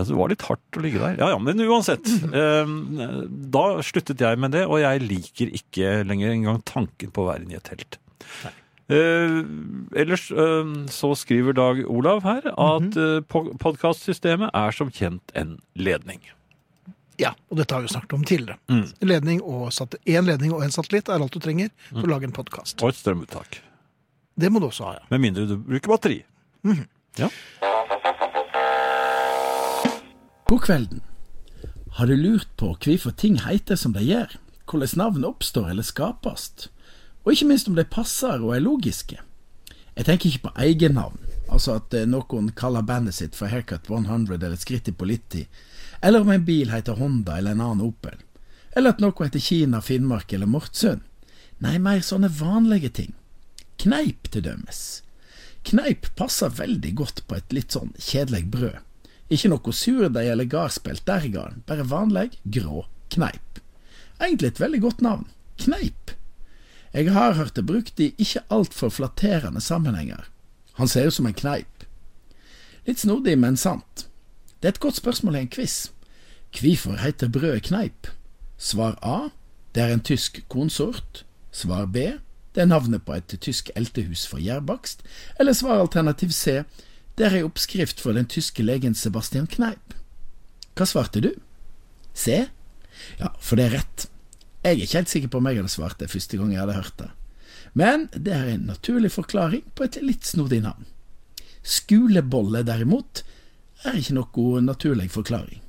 [SPEAKER 2] Altså, det var litt hardt å ligge der. Ja, ja, men uansett. eh, Da sluttet jeg med det, og jeg liker ikke lenger engang tanken på å være inne i et telt. Eh, ellers eh, så skriver Dag Olav her at eh, po- podcastsystemet er som kjent en ledning.
[SPEAKER 1] Ja, og dette har vi jo snakket om tidligere.
[SPEAKER 2] Mm.
[SPEAKER 1] Ledning og sat- En ledning og en satellitt er alt du trenger for å
[SPEAKER 2] Mm.
[SPEAKER 1] lage en podkast.
[SPEAKER 2] Og et strømuttak.
[SPEAKER 1] Det må du også ha, ja.
[SPEAKER 2] Med mindre du bruker batteri.
[SPEAKER 5] God kvelden. Har du lurt på hvorfor ting heter som de gjør? hvordan navn oppstår eller skapes, og ikke minst om de passer og er logiske. Jeg tenker ikke på egennavn, altså at eh, noen kaller bandet sitt for Haircut 100 eller Skritti Politti, eller om en bil heter Honda eller en annen Opel, eller at noe heter Kina, Finnmark eller Mortsund. Nei, mer sånne vanlige ting. Kneip, til dømes. Kneip passer veldig godt på et litt sånn kjedelig brød. Ikke noe surdeig eller gardspelt der i garden, bare vanlig, grå kneip. Egentlig et veldig godt navn. Kneip. Jeg har hørt det brukt i ikke altfor flatterende sammenhenger. Han ser ut som en kneip. Litt snodig, men sant. Det er et godt spørsmål i en quiz. Hvorfor heter brødet kneip? Svar A. Det er en tysk kornsort. Svar B. Det er navnet på et tysk eltehus for gjærbakst. Eller svar alternativ C. Det er ei oppskrift for den tyske legen Sebastian Kneip. Hva svarte du? C? Ja, for det er rett. Jeg er ikke helt sikker på om jeg hadde svart det første gang jeg hadde hørt det. Men det er en naturlig forklaring på et litt snodig navn. Skulebolle, derimot, er ikke noe naturlig forklaring.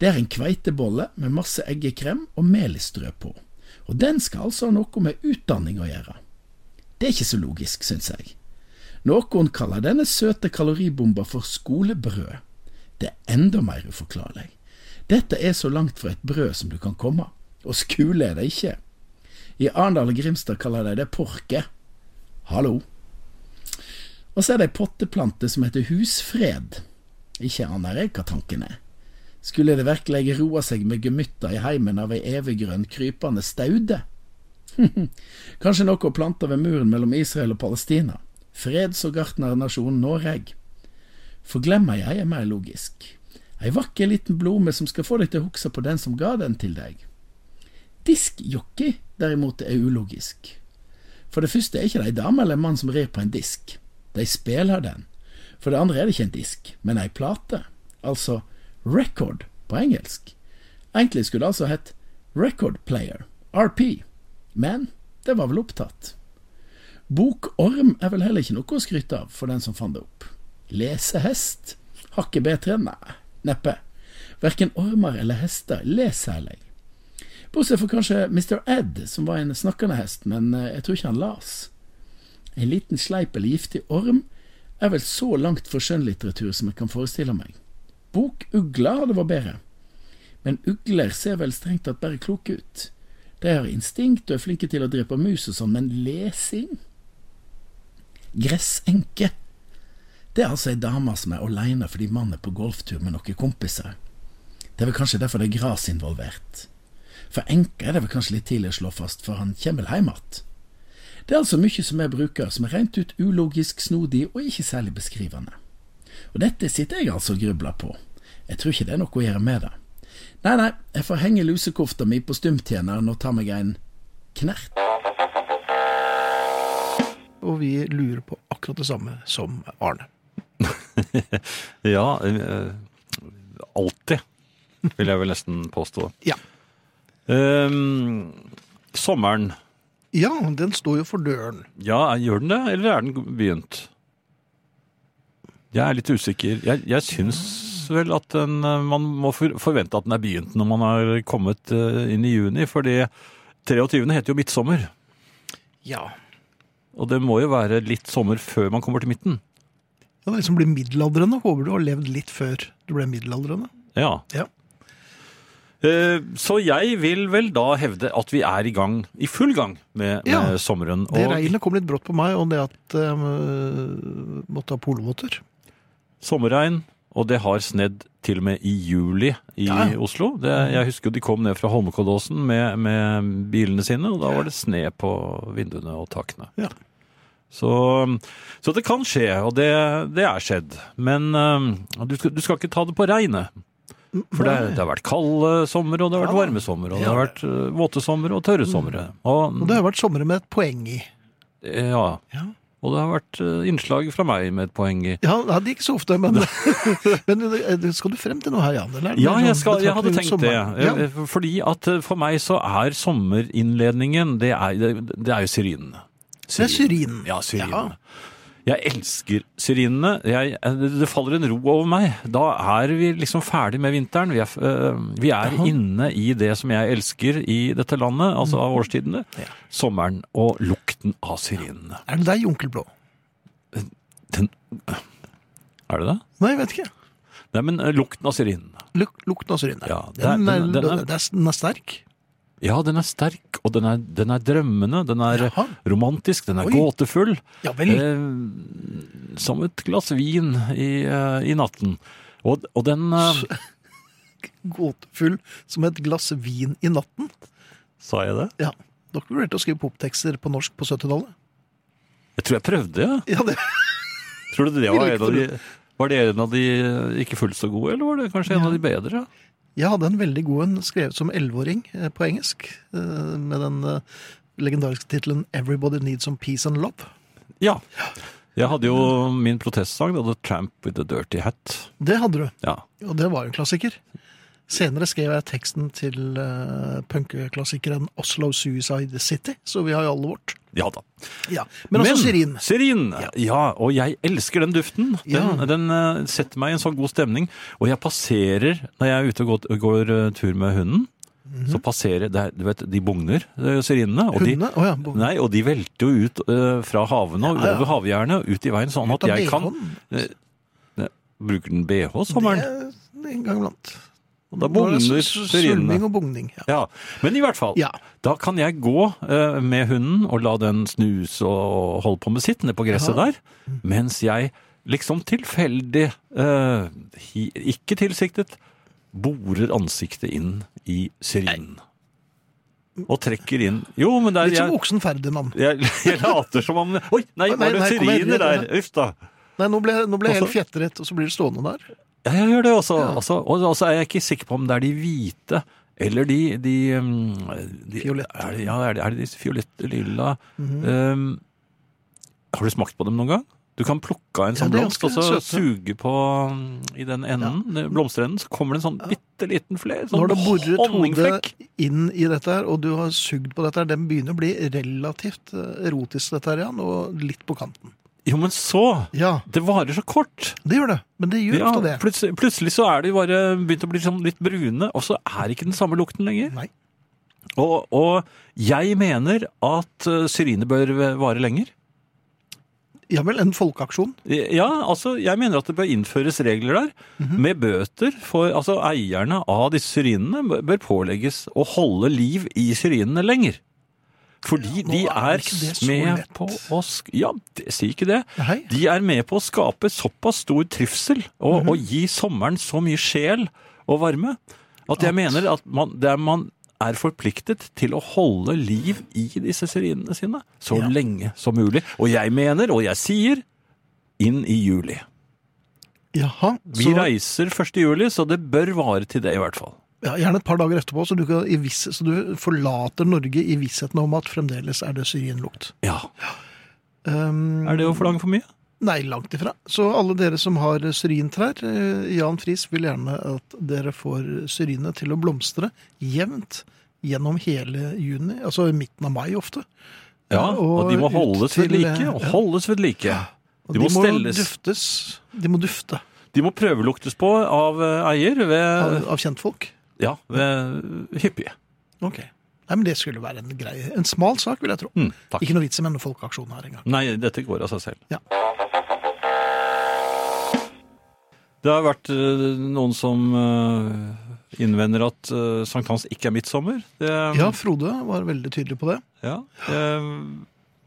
[SPEAKER 5] Det er en kveitebolle med masse eggekrem og melistrø på, og den skal altså ha noe med utdanning å gjøre. Det er ikke så logisk, synes jeg. Noen kaller denne søte kaloribomba for skolebrød. Det er enda mer uforklarlig. Dette er så langt fra et brød som du kan komme, og skule er det ikke. I Arendal og Grimstad kaller de det porke. Hallo. Og så er det ei potteplante som heter husfred. Ikke aner jeg hva tanken er. Skulle det virkelig roe seg med gemytter i heimen av ei eviggrønn krypende staude? Kanskje noe å plante ved muren mellom Israel og Palestina. Freds- og gartnernasjonen Noreg. Forglemmer jeg er mer logisk. Ei vakker liten blome som skal få deg til å huske på den som ga den til deg. Diskjockey, derimot, er ulogisk. For det første er ikke det ei dame eller en mann som rir på en disk. De spiller den. For det andre er det ikke en disk, men ei plate. Altså record på engelsk. Egentlig skulle det altså hett record player, RP, men det var vel opptatt. Bokorm er vel heller ikke noe å skryte av for den som fant det opp. Lesehest? Hakket bedre? Nei, neppe. Verken ormer eller hester leser jeg. Bortsett fra kanskje Mr. Ed, som var en snakkende hest, men eh, jeg tror ikke han las. En liten sleip eller giftig orm er vel så langt for skjønnlitteratur som jeg kan forestille meg. Bokugler hadde vært bedre, men ugler ser vel strengt tatt bare kloke ut. De har instinkt og er flinke til å drepe mus og sånn, men lesing? Gressenke. Det er altså ei dame som er aleine fordi mannen er på golftur med noen kompiser. Det er vel kanskje derfor det er gras involvert. For enke er det vel kanskje litt tidlig å slå fast, for han kommer vel hjem att. Det er altså mye som jeg bruker som er rent ut ulogisk, snodig og ikke særlig beskrivende. Og dette sitter jeg altså og grubler på. Jeg tror ikke det er noe å gjøre med det. Nei, nei, jeg får henge lusekofta mi på stumtjeneren og ta meg en knert.
[SPEAKER 1] Og vi lurer på akkurat det samme som Arne.
[SPEAKER 2] Ja, eh, alltid, vil jeg vel nesten påstå.
[SPEAKER 1] Ja.
[SPEAKER 2] Ehm, sommeren,
[SPEAKER 1] Ja, den står jo for døren.
[SPEAKER 2] ja, gjør den det, eller er den begynt? Jeg er litt usikker. Jeg, jeg syns vel at den, eh, man må for, forvente at den er begynt når man har kommet eh, inn i juni, fordi 23. heter jo midtsommer,
[SPEAKER 1] Ja.
[SPEAKER 2] og det må jo være litt sommer før man kommer til midten.
[SPEAKER 1] Det er liksom blir middelaldrende. Håper du har levd litt før du ble middelaldrende.
[SPEAKER 2] Ja.
[SPEAKER 1] Ja.
[SPEAKER 2] Eh, Så jeg vil vel da hevde at vi er i gang, i full gang med,
[SPEAKER 1] Ja.
[SPEAKER 2] med sommeren.
[SPEAKER 1] Det
[SPEAKER 2] Og
[SPEAKER 1] regnet kom litt brått på meg, og det at jeg måtte ha polvotter.
[SPEAKER 2] sommerregn, og det har snedd til og med i juli i
[SPEAKER 1] Ja.
[SPEAKER 2] Oslo. Det, jeg husker jo de kom ned fra Holmenkollåsen med, med bilene sine, og da var det sne på vinduene og takene.
[SPEAKER 1] Ja.
[SPEAKER 2] Så, så det kan skje, og det, det er skjedd. Men eh, du skal, du skal ikke ta det på regnet. For det, det har vært kalde sommer, og det har vært
[SPEAKER 1] Ja.
[SPEAKER 2] varme sommer, og det
[SPEAKER 1] Ja. Mm.
[SPEAKER 2] har vært eh, våte sommer og tørre somre. Og,
[SPEAKER 1] Og det har vært somre med et poeng i.
[SPEAKER 2] ja,
[SPEAKER 1] Ja.
[SPEAKER 2] og det har vært eh, innslag fra meg med et poeng i.
[SPEAKER 1] Ja, nei, det er ikke så ofte, men, men eh, skal du frem til noe her, Jan? Eller? er det
[SPEAKER 2] Ja,
[SPEAKER 1] mer
[SPEAKER 2] jeg,
[SPEAKER 1] sånn
[SPEAKER 2] skal, jeg hadde
[SPEAKER 1] betraktning
[SPEAKER 2] tenkt
[SPEAKER 1] rundt
[SPEAKER 2] det.
[SPEAKER 1] sommeren?
[SPEAKER 2] Eh, Fordi at eh, for meg så er sommerinnledningen, det er, det, det er jo syrinene.
[SPEAKER 1] Ja, det er syrinen.
[SPEAKER 2] Ja, syrinene. Jeg elsker syrinene. Jeg, eh, det faller en ro over meg. Da er vi liksom ferdig med vinteren. Vi er, øh, vi er inne i det som jeg elsker i dette landet, altså
[SPEAKER 1] Mm.
[SPEAKER 2] av årstidene. Sommeren og lukten av syrinene.
[SPEAKER 1] Er det deg, onkel Blå?
[SPEAKER 2] Den, er det det?
[SPEAKER 1] Nei, jeg vet ikke.
[SPEAKER 2] Nei, men øh, lukten av syrinene.
[SPEAKER 1] Luk, lukten av syrinne.
[SPEAKER 2] Ja, det er-
[SPEAKER 1] den, er-
[SPEAKER 2] den er- den er-
[SPEAKER 1] det er- den er sterk.
[SPEAKER 2] Ja, den er sterk, og den er, den er drømmende. Den er
[SPEAKER 1] Jaha.
[SPEAKER 2] romantisk, den er
[SPEAKER 1] Oi.
[SPEAKER 2] gåtefull.
[SPEAKER 1] Ja vel.
[SPEAKER 2] Eh, som et glass vin i, eh, i natten. Og, og den eh,
[SPEAKER 1] Gåtefull som et glass vin i natten.
[SPEAKER 2] Sa jeg det?
[SPEAKER 1] Ja. Dere vurderte å skrive poptekster på norsk på 70-tallet?
[SPEAKER 2] Jeg tror jeg prøvde, ja.
[SPEAKER 1] Ja, det
[SPEAKER 2] Tror du det
[SPEAKER 1] Ville
[SPEAKER 2] var en
[SPEAKER 1] ikke
[SPEAKER 2] av de Var det en av de ikke fullt så gode, eller var det kanskje en av de bedre?
[SPEAKER 1] Jeg hadde en veldig god en skrevet som 11-åring eh, på engelsk, eh, med den eh, legendariske tittelen 'Everybody Needs Some Peace and Love'.
[SPEAKER 2] Ja. Jeg hadde jo min protestsang, da, The Tramp with the Dirty Hat.
[SPEAKER 1] Det hadde du,
[SPEAKER 2] Ja.
[SPEAKER 1] og det var jo en klassiker. Senere skrev jeg teksten til eh, punkeklassikeren 'Oslo Suicide City', så vi har jo alle vårt.
[SPEAKER 2] ja da.
[SPEAKER 1] Ja. Men altså syrin.
[SPEAKER 2] Syrin, ja. og jeg elsker den duften. Den,
[SPEAKER 1] Ja.
[SPEAKER 2] den eh, setter meg i en sånn god stemning. Og jeg passerer, når jeg er ute og går, går eh, tur med hunden, så passerer det er- Du vet, de bugner, eh, syrinene. Og de,
[SPEAKER 1] Mhm. Hundene? Å ja. bo-
[SPEAKER 2] Nei, og de velter jo ut eh, fra havene og over havgjerdet og ut i veien, sånn
[SPEAKER 1] Ut
[SPEAKER 2] at
[SPEAKER 1] av
[SPEAKER 2] jeg kan
[SPEAKER 1] BH-en.
[SPEAKER 2] eh, ne- Bruker den BH
[SPEAKER 1] Det
[SPEAKER 2] sommeren?
[SPEAKER 1] er en gang iblant.
[SPEAKER 2] Da bugner
[SPEAKER 1] Nå er det s- s-
[SPEAKER 2] syrinene.
[SPEAKER 1] Svulming og bugning. Ja.
[SPEAKER 2] Ja, Men i hvert fall,
[SPEAKER 1] Ja.
[SPEAKER 2] da kan jeg gå eh, med hunden og la den snuse og holde på med sitt nede på gresset der, mens jeg liksom tilfeldig, eh, hi, ikke tilsiktet, borer ansiktet inn i syrinen. Og trekker inn Jo, men det er
[SPEAKER 1] Litt som
[SPEAKER 2] jeg-
[SPEAKER 1] oksen Ferdinand.
[SPEAKER 2] jeg, jeg later som om Oi, nei,
[SPEAKER 1] Oi, nei,
[SPEAKER 2] var det
[SPEAKER 1] nei, kom igjen,
[SPEAKER 2] syriner der?
[SPEAKER 1] kom
[SPEAKER 2] Uff da.
[SPEAKER 1] Nei, nå ble, nå ble jeg helt
[SPEAKER 2] Også-
[SPEAKER 1] fjetret, og så blir det stående der.
[SPEAKER 2] Ja, jeg gjør det også. Altså, og og så er jeg ikke sikker på om det er de hvite eller de, de, um, de
[SPEAKER 1] Fiolette.
[SPEAKER 2] Er det, ja, er det, er det de fiolette, lilla
[SPEAKER 1] Mhm.
[SPEAKER 2] um, Har du smakt på dem noen gang? Du kan plukke av en
[SPEAKER 1] Ja,
[SPEAKER 2] sånn
[SPEAKER 1] de er
[SPEAKER 2] blomst og
[SPEAKER 1] ganske
[SPEAKER 2] så
[SPEAKER 1] søte.
[SPEAKER 2] suge på um, i den enden, den blomsterenden, så kommer det en sånn bitte liten fler. Sånn
[SPEAKER 1] Når det borer et hode
[SPEAKER 2] honningflekk.
[SPEAKER 1] inn i dette her, og du har sugd på dette her, den begynner å bli relativt eh, erotisk, dette her, Jan, og litt på kanten.
[SPEAKER 2] Jo, men så!
[SPEAKER 1] Ja,
[SPEAKER 2] Det varer så kort.
[SPEAKER 1] det gjør det, men det gjør
[SPEAKER 2] Ja,
[SPEAKER 1] ofte det.
[SPEAKER 2] plutselig, plutselig så er de bare begynt å bli sånn litt brune, og så er ikke den samme lukten lenger.
[SPEAKER 1] Nei.
[SPEAKER 2] Og, og jeg mener at eh, syrine bør vare lenger.
[SPEAKER 1] Ja vel, en folkeaksjon.
[SPEAKER 2] Ja, altså, jeg mener at det bør innføres regler der,
[SPEAKER 1] Mhm.
[SPEAKER 2] med bøter for altså, eierne av disse syrinene bør- bør pålegges å holde liv i syrinene lenger. Fordi
[SPEAKER 1] nå
[SPEAKER 2] de
[SPEAKER 1] er
[SPEAKER 2] er,
[SPEAKER 1] ikke det så
[SPEAKER 2] med
[SPEAKER 1] lett.
[SPEAKER 2] på å sk Ja, det, si ikke det.
[SPEAKER 1] Nei.
[SPEAKER 2] De er med på å skape såpass stor trivsel
[SPEAKER 1] Mhm.
[SPEAKER 2] og, og gi sommeren så mye sjel og varme at jeg mener at man, det er man er forpliktet til å holde liv i disse syrinene sine så
[SPEAKER 1] Ja.
[SPEAKER 2] lenge som mulig. Og jeg mener, og jeg sier, inn i juli.
[SPEAKER 1] Jaha,
[SPEAKER 2] Vi
[SPEAKER 1] så,
[SPEAKER 2] reiser 1. juli, så det bør vare til det i hvert fall.
[SPEAKER 1] ja, gjerne et par dager etterpå, så du, kan, i viss, så du forlater Norge i vissheten om at fremdeles er det syrinlukt.
[SPEAKER 2] Ja.
[SPEAKER 1] Um,
[SPEAKER 2] Er det å forlange for mye?
[SPEAKER 1] Nei, langt ifra. Så alle dere som har syrintrær, eh, Jan Friis vil gjerne at dere får syrinene til å blomstre jevnt gjennom hele juni, altså midten av mai ofte. Eh,
[SPEAKER 2] Ja, og de må
[SPEAKER 1] ut
[SPEAKER 2] holdes ved
[SPEAKER 1] til,
[SPEAKER 2] like.
[SPEAKER 1] eh,
[SPEAKER 2] Og
[SPEAKER 1] ja.
[SPEAKER 2] holdes ved like.
[SPEAKER 1] Og
[SPEAKER 2] De må stelles.
[SPEAKER 1] duftes. De må dufte
[SPEAKER 2] De må prøveluktes på av eh, eier
[SPEAKER 1] av,
[SPEAKER 2] ved,
[SPEAKER 1] av kjentfolk.
[SPEAKER 2] ja, ved hyppige.
[SPEAKER 1] Ok. Nei, men det skulle være en grei, en smal sak, vil jeg tro.
[SPEAKER 2] Mm, takk.
[SPEAKER 1] Ikke noe vits i med noen folkeaksjon her engang.
[SPEAKER 2] Nei, dette går av seg selv.
[SPEAKER 1] Ja.
[SPEAKER 2] Det har vært eh, noen som eh, innvender at eh, sankthans ikke er midtsommer. Det,
[SPEAKER 1] Ja, Frode var veldig tydelig på det.
[SPEAKER 2] ja, jeg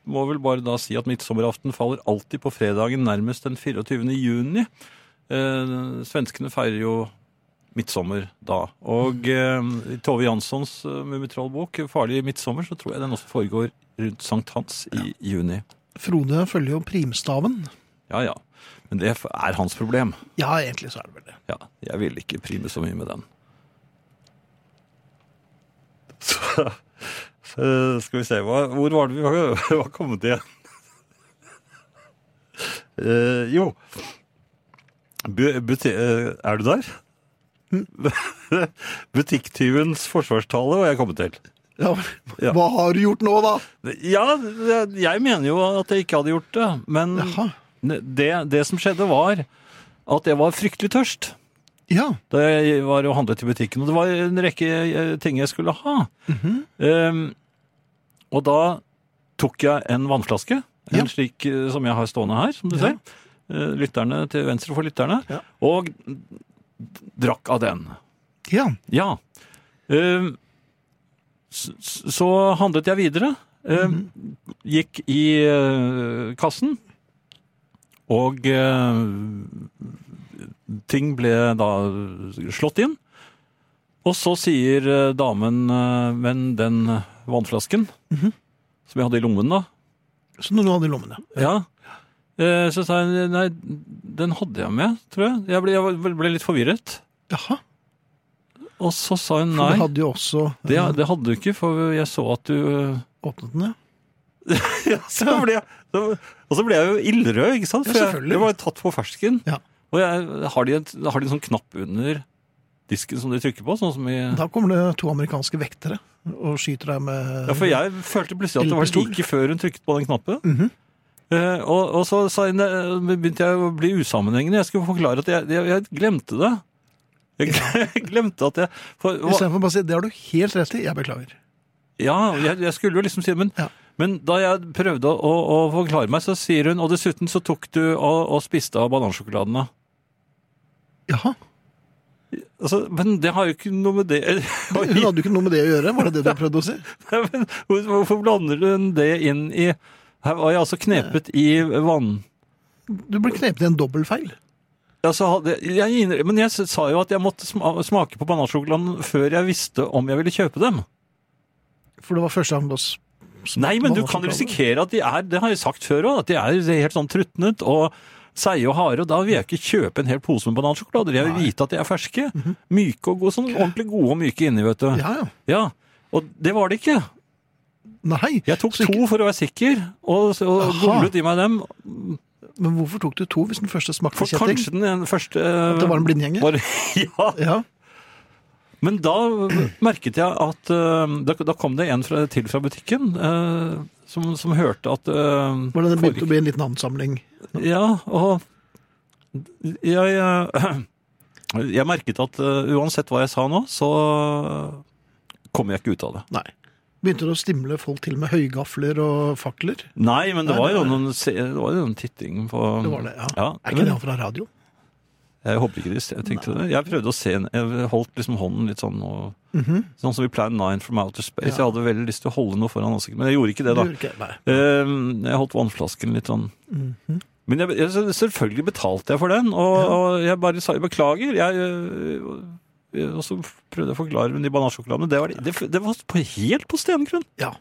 [SPEAKER 2] må vel bare da si at midtsommeraften faller alltid på fredagen nærmest den 24. juni. Eh, svenskene feirer jo midtsommer da. Og eh, i Tove Janssons eh, Mummitrollbok, 'Farlig midtsommer', så tror jeg den også foregår rundt sankthans i juni.
[SPEAKER 1] Frode følger jo primstaven.
[SPEAKER 2] Ja ja. Men det er hans problem.
[SPEAKER 1] Ja, egentlig så er det vel det.
[SPEAKER 2] Ja, jeg vil ikke prime så mye med den. Så, så skal vi se, hva, hvor var det vi var, var kommet igjen? Eh, jo Bu- buti- eh, Er du der? Butikktyvens forsvarstale var jeg kommet til.
[SPEAKER 1] Ja,
[SPEAKER 2] Ja.
[SPEAKER 1] Hva har du gjort nå, da?
[SPEAKER 2] Ja, jeg mener jo at jeg ikke hadde gjort det, men
[SPEAKER 1] Jaha.
[SPEAKER 2] Det, det som skjedde, var at jeg var fryktelig tørst
[SPEAKER 1] Ja.
[SPEAKER 2] da jeg var og handlet i butikken. Og det var en rekke eh, ting jeg skulle ha.
[SPEAKER 1] Mhm.
[SPEAKER 2] Ehm, og da tok jeg en vannflaske, en
[SPEAKER 1] Ja.
[SPEAKER 2] slik eh, som jeg har stående her, som du
[SPEAKER 1] Ja.
[SPEAKER 2] ser. Eh, lytterne til venstre for lytterne.
[SPEAKER 1] Ja.
[SPEAKER 2] Og d- drakk av den.
[SPEAKER 1] ja.
[SPEAKER 2] Ja. Ehm, s- s- så handlet jeg videre. Ehm,
[SPEAKER 1] Mhm.
[SPEAKER 2] Gikk i eh, kassen. Og eh, ting ble da slått inn. Og så sier eh, damen eh, Men den vannflasken
[SPEAKER 1] Mhm.
[SPEAKER 2] som jeg hadde i lommen da
[SPEAKER 1] Så når du hadde i lommene.
[SPEAKER 2] ja. Eh, Så sa hun Nei, den hadde jeg med, tror jeg. Jeg ble, jeg var- ble litt forvirret.
[SPEAKER 1] Jaha.
[SPEAKER 2] Og så sa hun
[SPEAKER 1] For
[SPEAKER 2] nei.
[SPEAKER 1] du hadde jo også
[SPEAKER 2] Det,
[SPEAKER 1] eh,
[SPEAKER 2] det hadde du ikke, for jeg så at du
[SPEAKER 1] åpnet den, ja.
[SPEAKER 2] ja, så ble jeg, så- Og så ble jeg jo ildrød, ikke sant?
[SPEAKER 1] Ja,
[SPEAKER 2] For jeg,
[SPEAKER 1] selvfølgelig.
[SPEAKER 2] jeg var jo tatt på fersken.
[SPEAKER 1] Ja.
[SPEAKER 2] Og jeg, har, de en, har de en sånn knapp under disken som de trykker på? Sånn som i,
[SPEAKER 1] Da kommer det to amerikanske vektere og skyter deg med
[SPEAKER 2] ja, for jeg følte plutselig at det var
[SPEAKER 1] Ildpistol.
[SPEAKER 2] like før hun trykket på den knappen.
[SPEAKER 1] Mhm.
[SPEAKER 2] Eh, og, og så sa jeg, ne- begynte jeg å bli usammenhengende. Jeg skulle forklare at jeg, jeg, jeg glemte det. Jeg glemte at jeg for,
[SPEAKER 1] Istedenfor bare å si 'det har du helt rett i', jeg beklager.
[SPEAKER 2] Ja, jeg, jeg skulle jo liksom si men,
[SPEAKER 1] Ja.
[SPEAKER 2] men da jeg prøvde å, å, å forklare meg, så sier hun Og dessuten så tok du og, og spiste av banansjokoladene.
[SPEAKER 1] Jaha.
[SPEAKER 2] Altså, men det har jo ikke noe med det
[SPEAKER 1] Hun hadde jo ikke noe med det å gjøre, var det det du prøvde å si?
[SPEAKER 2] men, hvor- Hvorfor blander hun det inn i Her var jeg altså knepet i vann...
[SPEAKER 1] Du ble knepet i en dobbeltfeil.
[SPEAKER 2] Altså, hadde, jeg, innrø- men jeg sa jo at jeg måtte sma- smake på banansjokoladen før jeg visste om jeg ville kjøpe dem.
[SPEAKER 1] For det var første gang du s-
[SPEAKER 2] Nei, men du kan
[SPEAKER 1] banansjokolade.
[SPEAKER 2] risikere at de er, det har jeg sagt før òg, at de er helt sånn trutnet og seige og harde. Og da vil jeg ikke kjøpe en hel pose med banansjokolader. Jeg vil vite at de er ferske. Myke og gode. Sånn ordentlig gode og myke inni, vet du. Ja.
[SPEAKER 1] Mhm. Ja, ja.
[SPEAKER 2] Og det var det ikke.
[SPEAKER 1] Nei.
[SPEAKER 2] Jeg tok
[SPEAKER 1] Så ikke-
[SPEAKER 2] to for å være sikker, og, og
[SPEAKER 1] Aha.
[SPEAKER 2] gomlet i meg dem.
[SPEAKER 1] Men hvorfor tok du to hvis den første smakte
[SPEAKER 2] For
[SPEAKER 1] kjetting?
[SPEAKER 2] kanskje den ene første
[SPEAKER 1] At det var en blindgjenger?
[SPEAKER 2] var- ja.
[SPEAKER 1] Ja.
[SPEAKER 2] Men da merket jeg at eh, da, da kom det en fra, til fra butikken eh, som, som hørte at eh,
[SPEAKER 1] Var det det
[SPEAKER 2] forrige-
[SPEAKER 1] begynte å bli en liten ansamling?
[SPEAKER 2] Ja, og jeg, eh, jeg merket at eh, uansett hva jeg sa nå, så kom jeg ikke ut av det.
[SPEAKER 1] Nei. Begynte det å stimle folk til med høygafler og fakler?
[SPEAKER 2] Nei, men det
[SPEAKER 1] Nei,
[SPEAKER 2] var jo
[SPEAKER 1] det-
[SPEAKER 2] noen, se- det var jo noen titting på
[SPEAKER 1] Det var det, ja.
[SPEAKER 2] Mm. Ja,
[SPEAKER 1] Er ikke
[SPEAKER 2] men
[SPEAKER 1] det han fra radio?
[SPEAKER 2] jeg håper ikke de se- jeg tenkte det. Jeg prøvde å se en- Jeg holdt liksom hånden litt sånn og, Sånn som i Plan 9 from Outer Space. Jeg hadde veldig lyst til å holde noe foran ansiktet, men jeg gjorde ikke det, da.
[SPEAKER 1] Du gjør ikke- Nei.
[SPEAKER 2] Eh, Jeg holdt vannflasken litt sånn.
[SPEAKER 1] Mhm.
[SPEAKER 2] Men jeg, jeg, selvfølgelig betalte jeg for den, og, og jeg bare sa jeg beklager. Jeg, øh, øh, og så prøvde jeg å forklare med de banansjokoladene. Det var, det, det var på, helt på stengrunn.
[SPEAKER 1] Ja.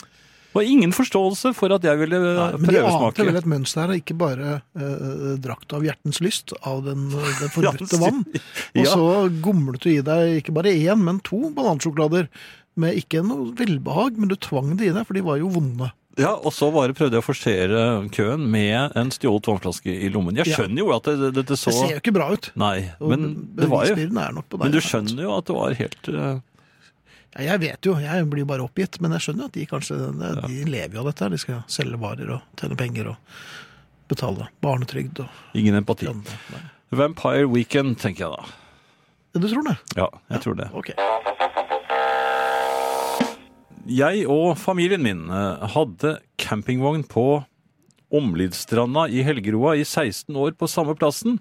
[SPEAKER 2] Det var ingen forståelse for at jeg ville
[SPEAKER 1] Nei,
[SPEAKER 2] øh,
[SPEAKER 1] men de ante
[SPEAKER 2] prøvesmake.
[SPEAKER 1] vel et mønster her, ikke bare eh, drakt av hjertens lyst av den, eh, den forbudte
[SPEAKER 2] Ja,
[SPEAKER 1] vann. Og
[SPEAKER 2] ja.
[SPEAKER 1] så gomlet du i deg ikke bare én, men to banansjokolader. Med ikke noe velbehag, men du tvang det i deg, for de var jo vonde.
[SPEAKER 2] ja, og så bare prøvde jeg å forsere køen med en stjålet vannflaske i lommen. Jeg
[SPEAKER 1] Ja.
[SPEAKER 2] skjønner jo at det, det, det så
[SPEAKER 1] Det ser jo ikke bra ut.
[SPEAKER 2] Nei,
[SPEAKER 1] Og
[SPEAKER 2] men det var jo
[SPEAKER 1] bevisbyrden er nok på deg,
[SPEAKER 2] Men du
[SPEAKER 1] da.
[SPEAKER 2] skjønner jo at det var helt øh,
[SPEAKER 1] Ja, jeg vet jo, jeg blir jo bare oppgitt, men jeg skjønner at de kanskje de, de lever jo av dette. her. De skal selge varer og tjene penger og betale barnetrygd og
[SPEAKER 2] ingen empati.
[SPEAKER 1] lønne. Nei.
[SPEAKER 2] Vampire Weekend, tenker jeg da.
[SPEAKER 1] Ja, Du tror det?
[SPEAKER 2] Ja, jeg tror det.
[SPEAKER 1] Ok.
[SPEAKER 2] Jeg og familien min eh, hadde campingvogn på Omlidstranda i Helgeroa i 16 år på samme plassen.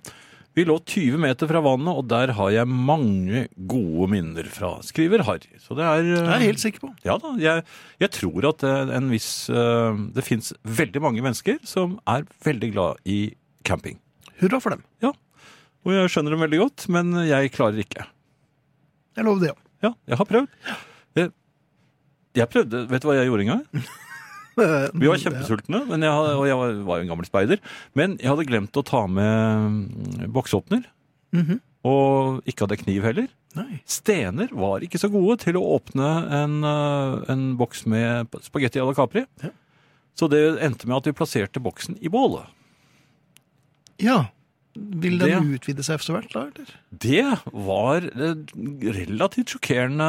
[SPEAKER 2] Vi lå 20 meter fra vannet, og der har jeg mange gode minner fra, skriver Harry. Så det er, eh,
[SPEAKER 1] Det er jeg helt sikker på.
[SPEAKER 2] Ja da, jeg, jeg tror at eh, en viss, eh, det finnes veldig mange mennesker som er veldig glad i camping.
[SPEAKER 1] Hurra for dem.
[SPEAKER 2] Og jeg skjønner dem veldig godt, men jeg klarer ikke.
[SPEAKER 1] Jeg lover det òg.
[SPEAKER 2] Ja, jeg har prøvd. Jeg, jeg prøvde, vet du hva jeg gjorde en gang? Vi var kjempesultne, men jeg, hadde- og jeg var, var jo en gammel speider. Men jeg hadde glemt å ta med mm, boksåpner.
[SPEAKER 1] Mhm.
[SPEAKER 2] Og ikke hadde kniv heller.
[SPEAKER 1] Nei.
[SPEAKER 2] Stener var ikke så gode til å åpne en, eh, en boks med spagetti à la Capri.
[SPEAKER 1] Ja.
[SPEAKER 2] Så det endte med at vi plasserte boksen i bålet.
[SPEAKER 1] Ja. Vil den
[SPEAKER 2] Det-
[SPEAKER 1] utvide seg etter hvert, da? eller?
[SPEAKER 2] Det var eh, relativt sjokkerende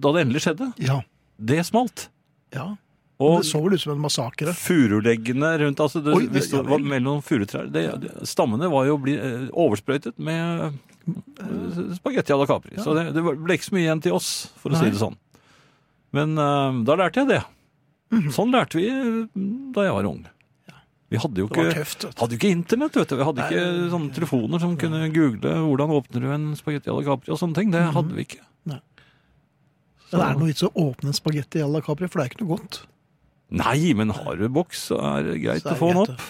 [SPEAKER 2] da det endelig skjedde.
[SPEAKER 1] Ja.
[SPEAKER 2] Det smalt.
[SPEAKER 1] ja. Det
[SPEAKER 2] Og
[SPEAKER 1] så vel ut som en massakre.
[SPEAKER 2] furuleggene rundt altså det,
[SPEAKER 1] Oi, det-
[SPEAKER 2] Hvis det
[SPEAKER 1] ja
[SPEAKER 2] var
[SPEAKER 1] vel.
[SPEAKER 2] mellom furutrær det, det, Stammene var jo bli, eh, oversprøytet med eh, spagetti à la Capri. Så det, det ble ikke så mye igjen til oss, for å
[SPEAKER 1] Nei.
[SPEAKER 2] si det sånn. Men eh, da lærte jeg det.
[SPEAKER 1] Mhm.
[SPEAKER 2] Sånn lærte vi eh, da jeg var ung. Vi hadde jo
[SPEAKER 1] Det var
[SPEAKER 2] ikke,
[SPEAKER 1] tøft. vet du.
[SPEAKER 2] hadde jo ikke internett, vet du. Vi hadde ikke sånne telefoner som kunne google 'hvordan åpner du en spagetti à la Capri' og sånne ting. Det hadde vi ikke.
[SPEAKER 1] Men er Mhm. det noe vits å åpne en spagetti à la Capri, for det er ikke noe godt.
[SPEAKER 2] Nei, men har du boks, så er det greit
[SPEAKER 1] Så er
[SPEAKER 2] å få
[SPEAKER 1] det
[SPEAKER 2] den
[SPEAKER 1] greit,
[SPEAKER 2] opp.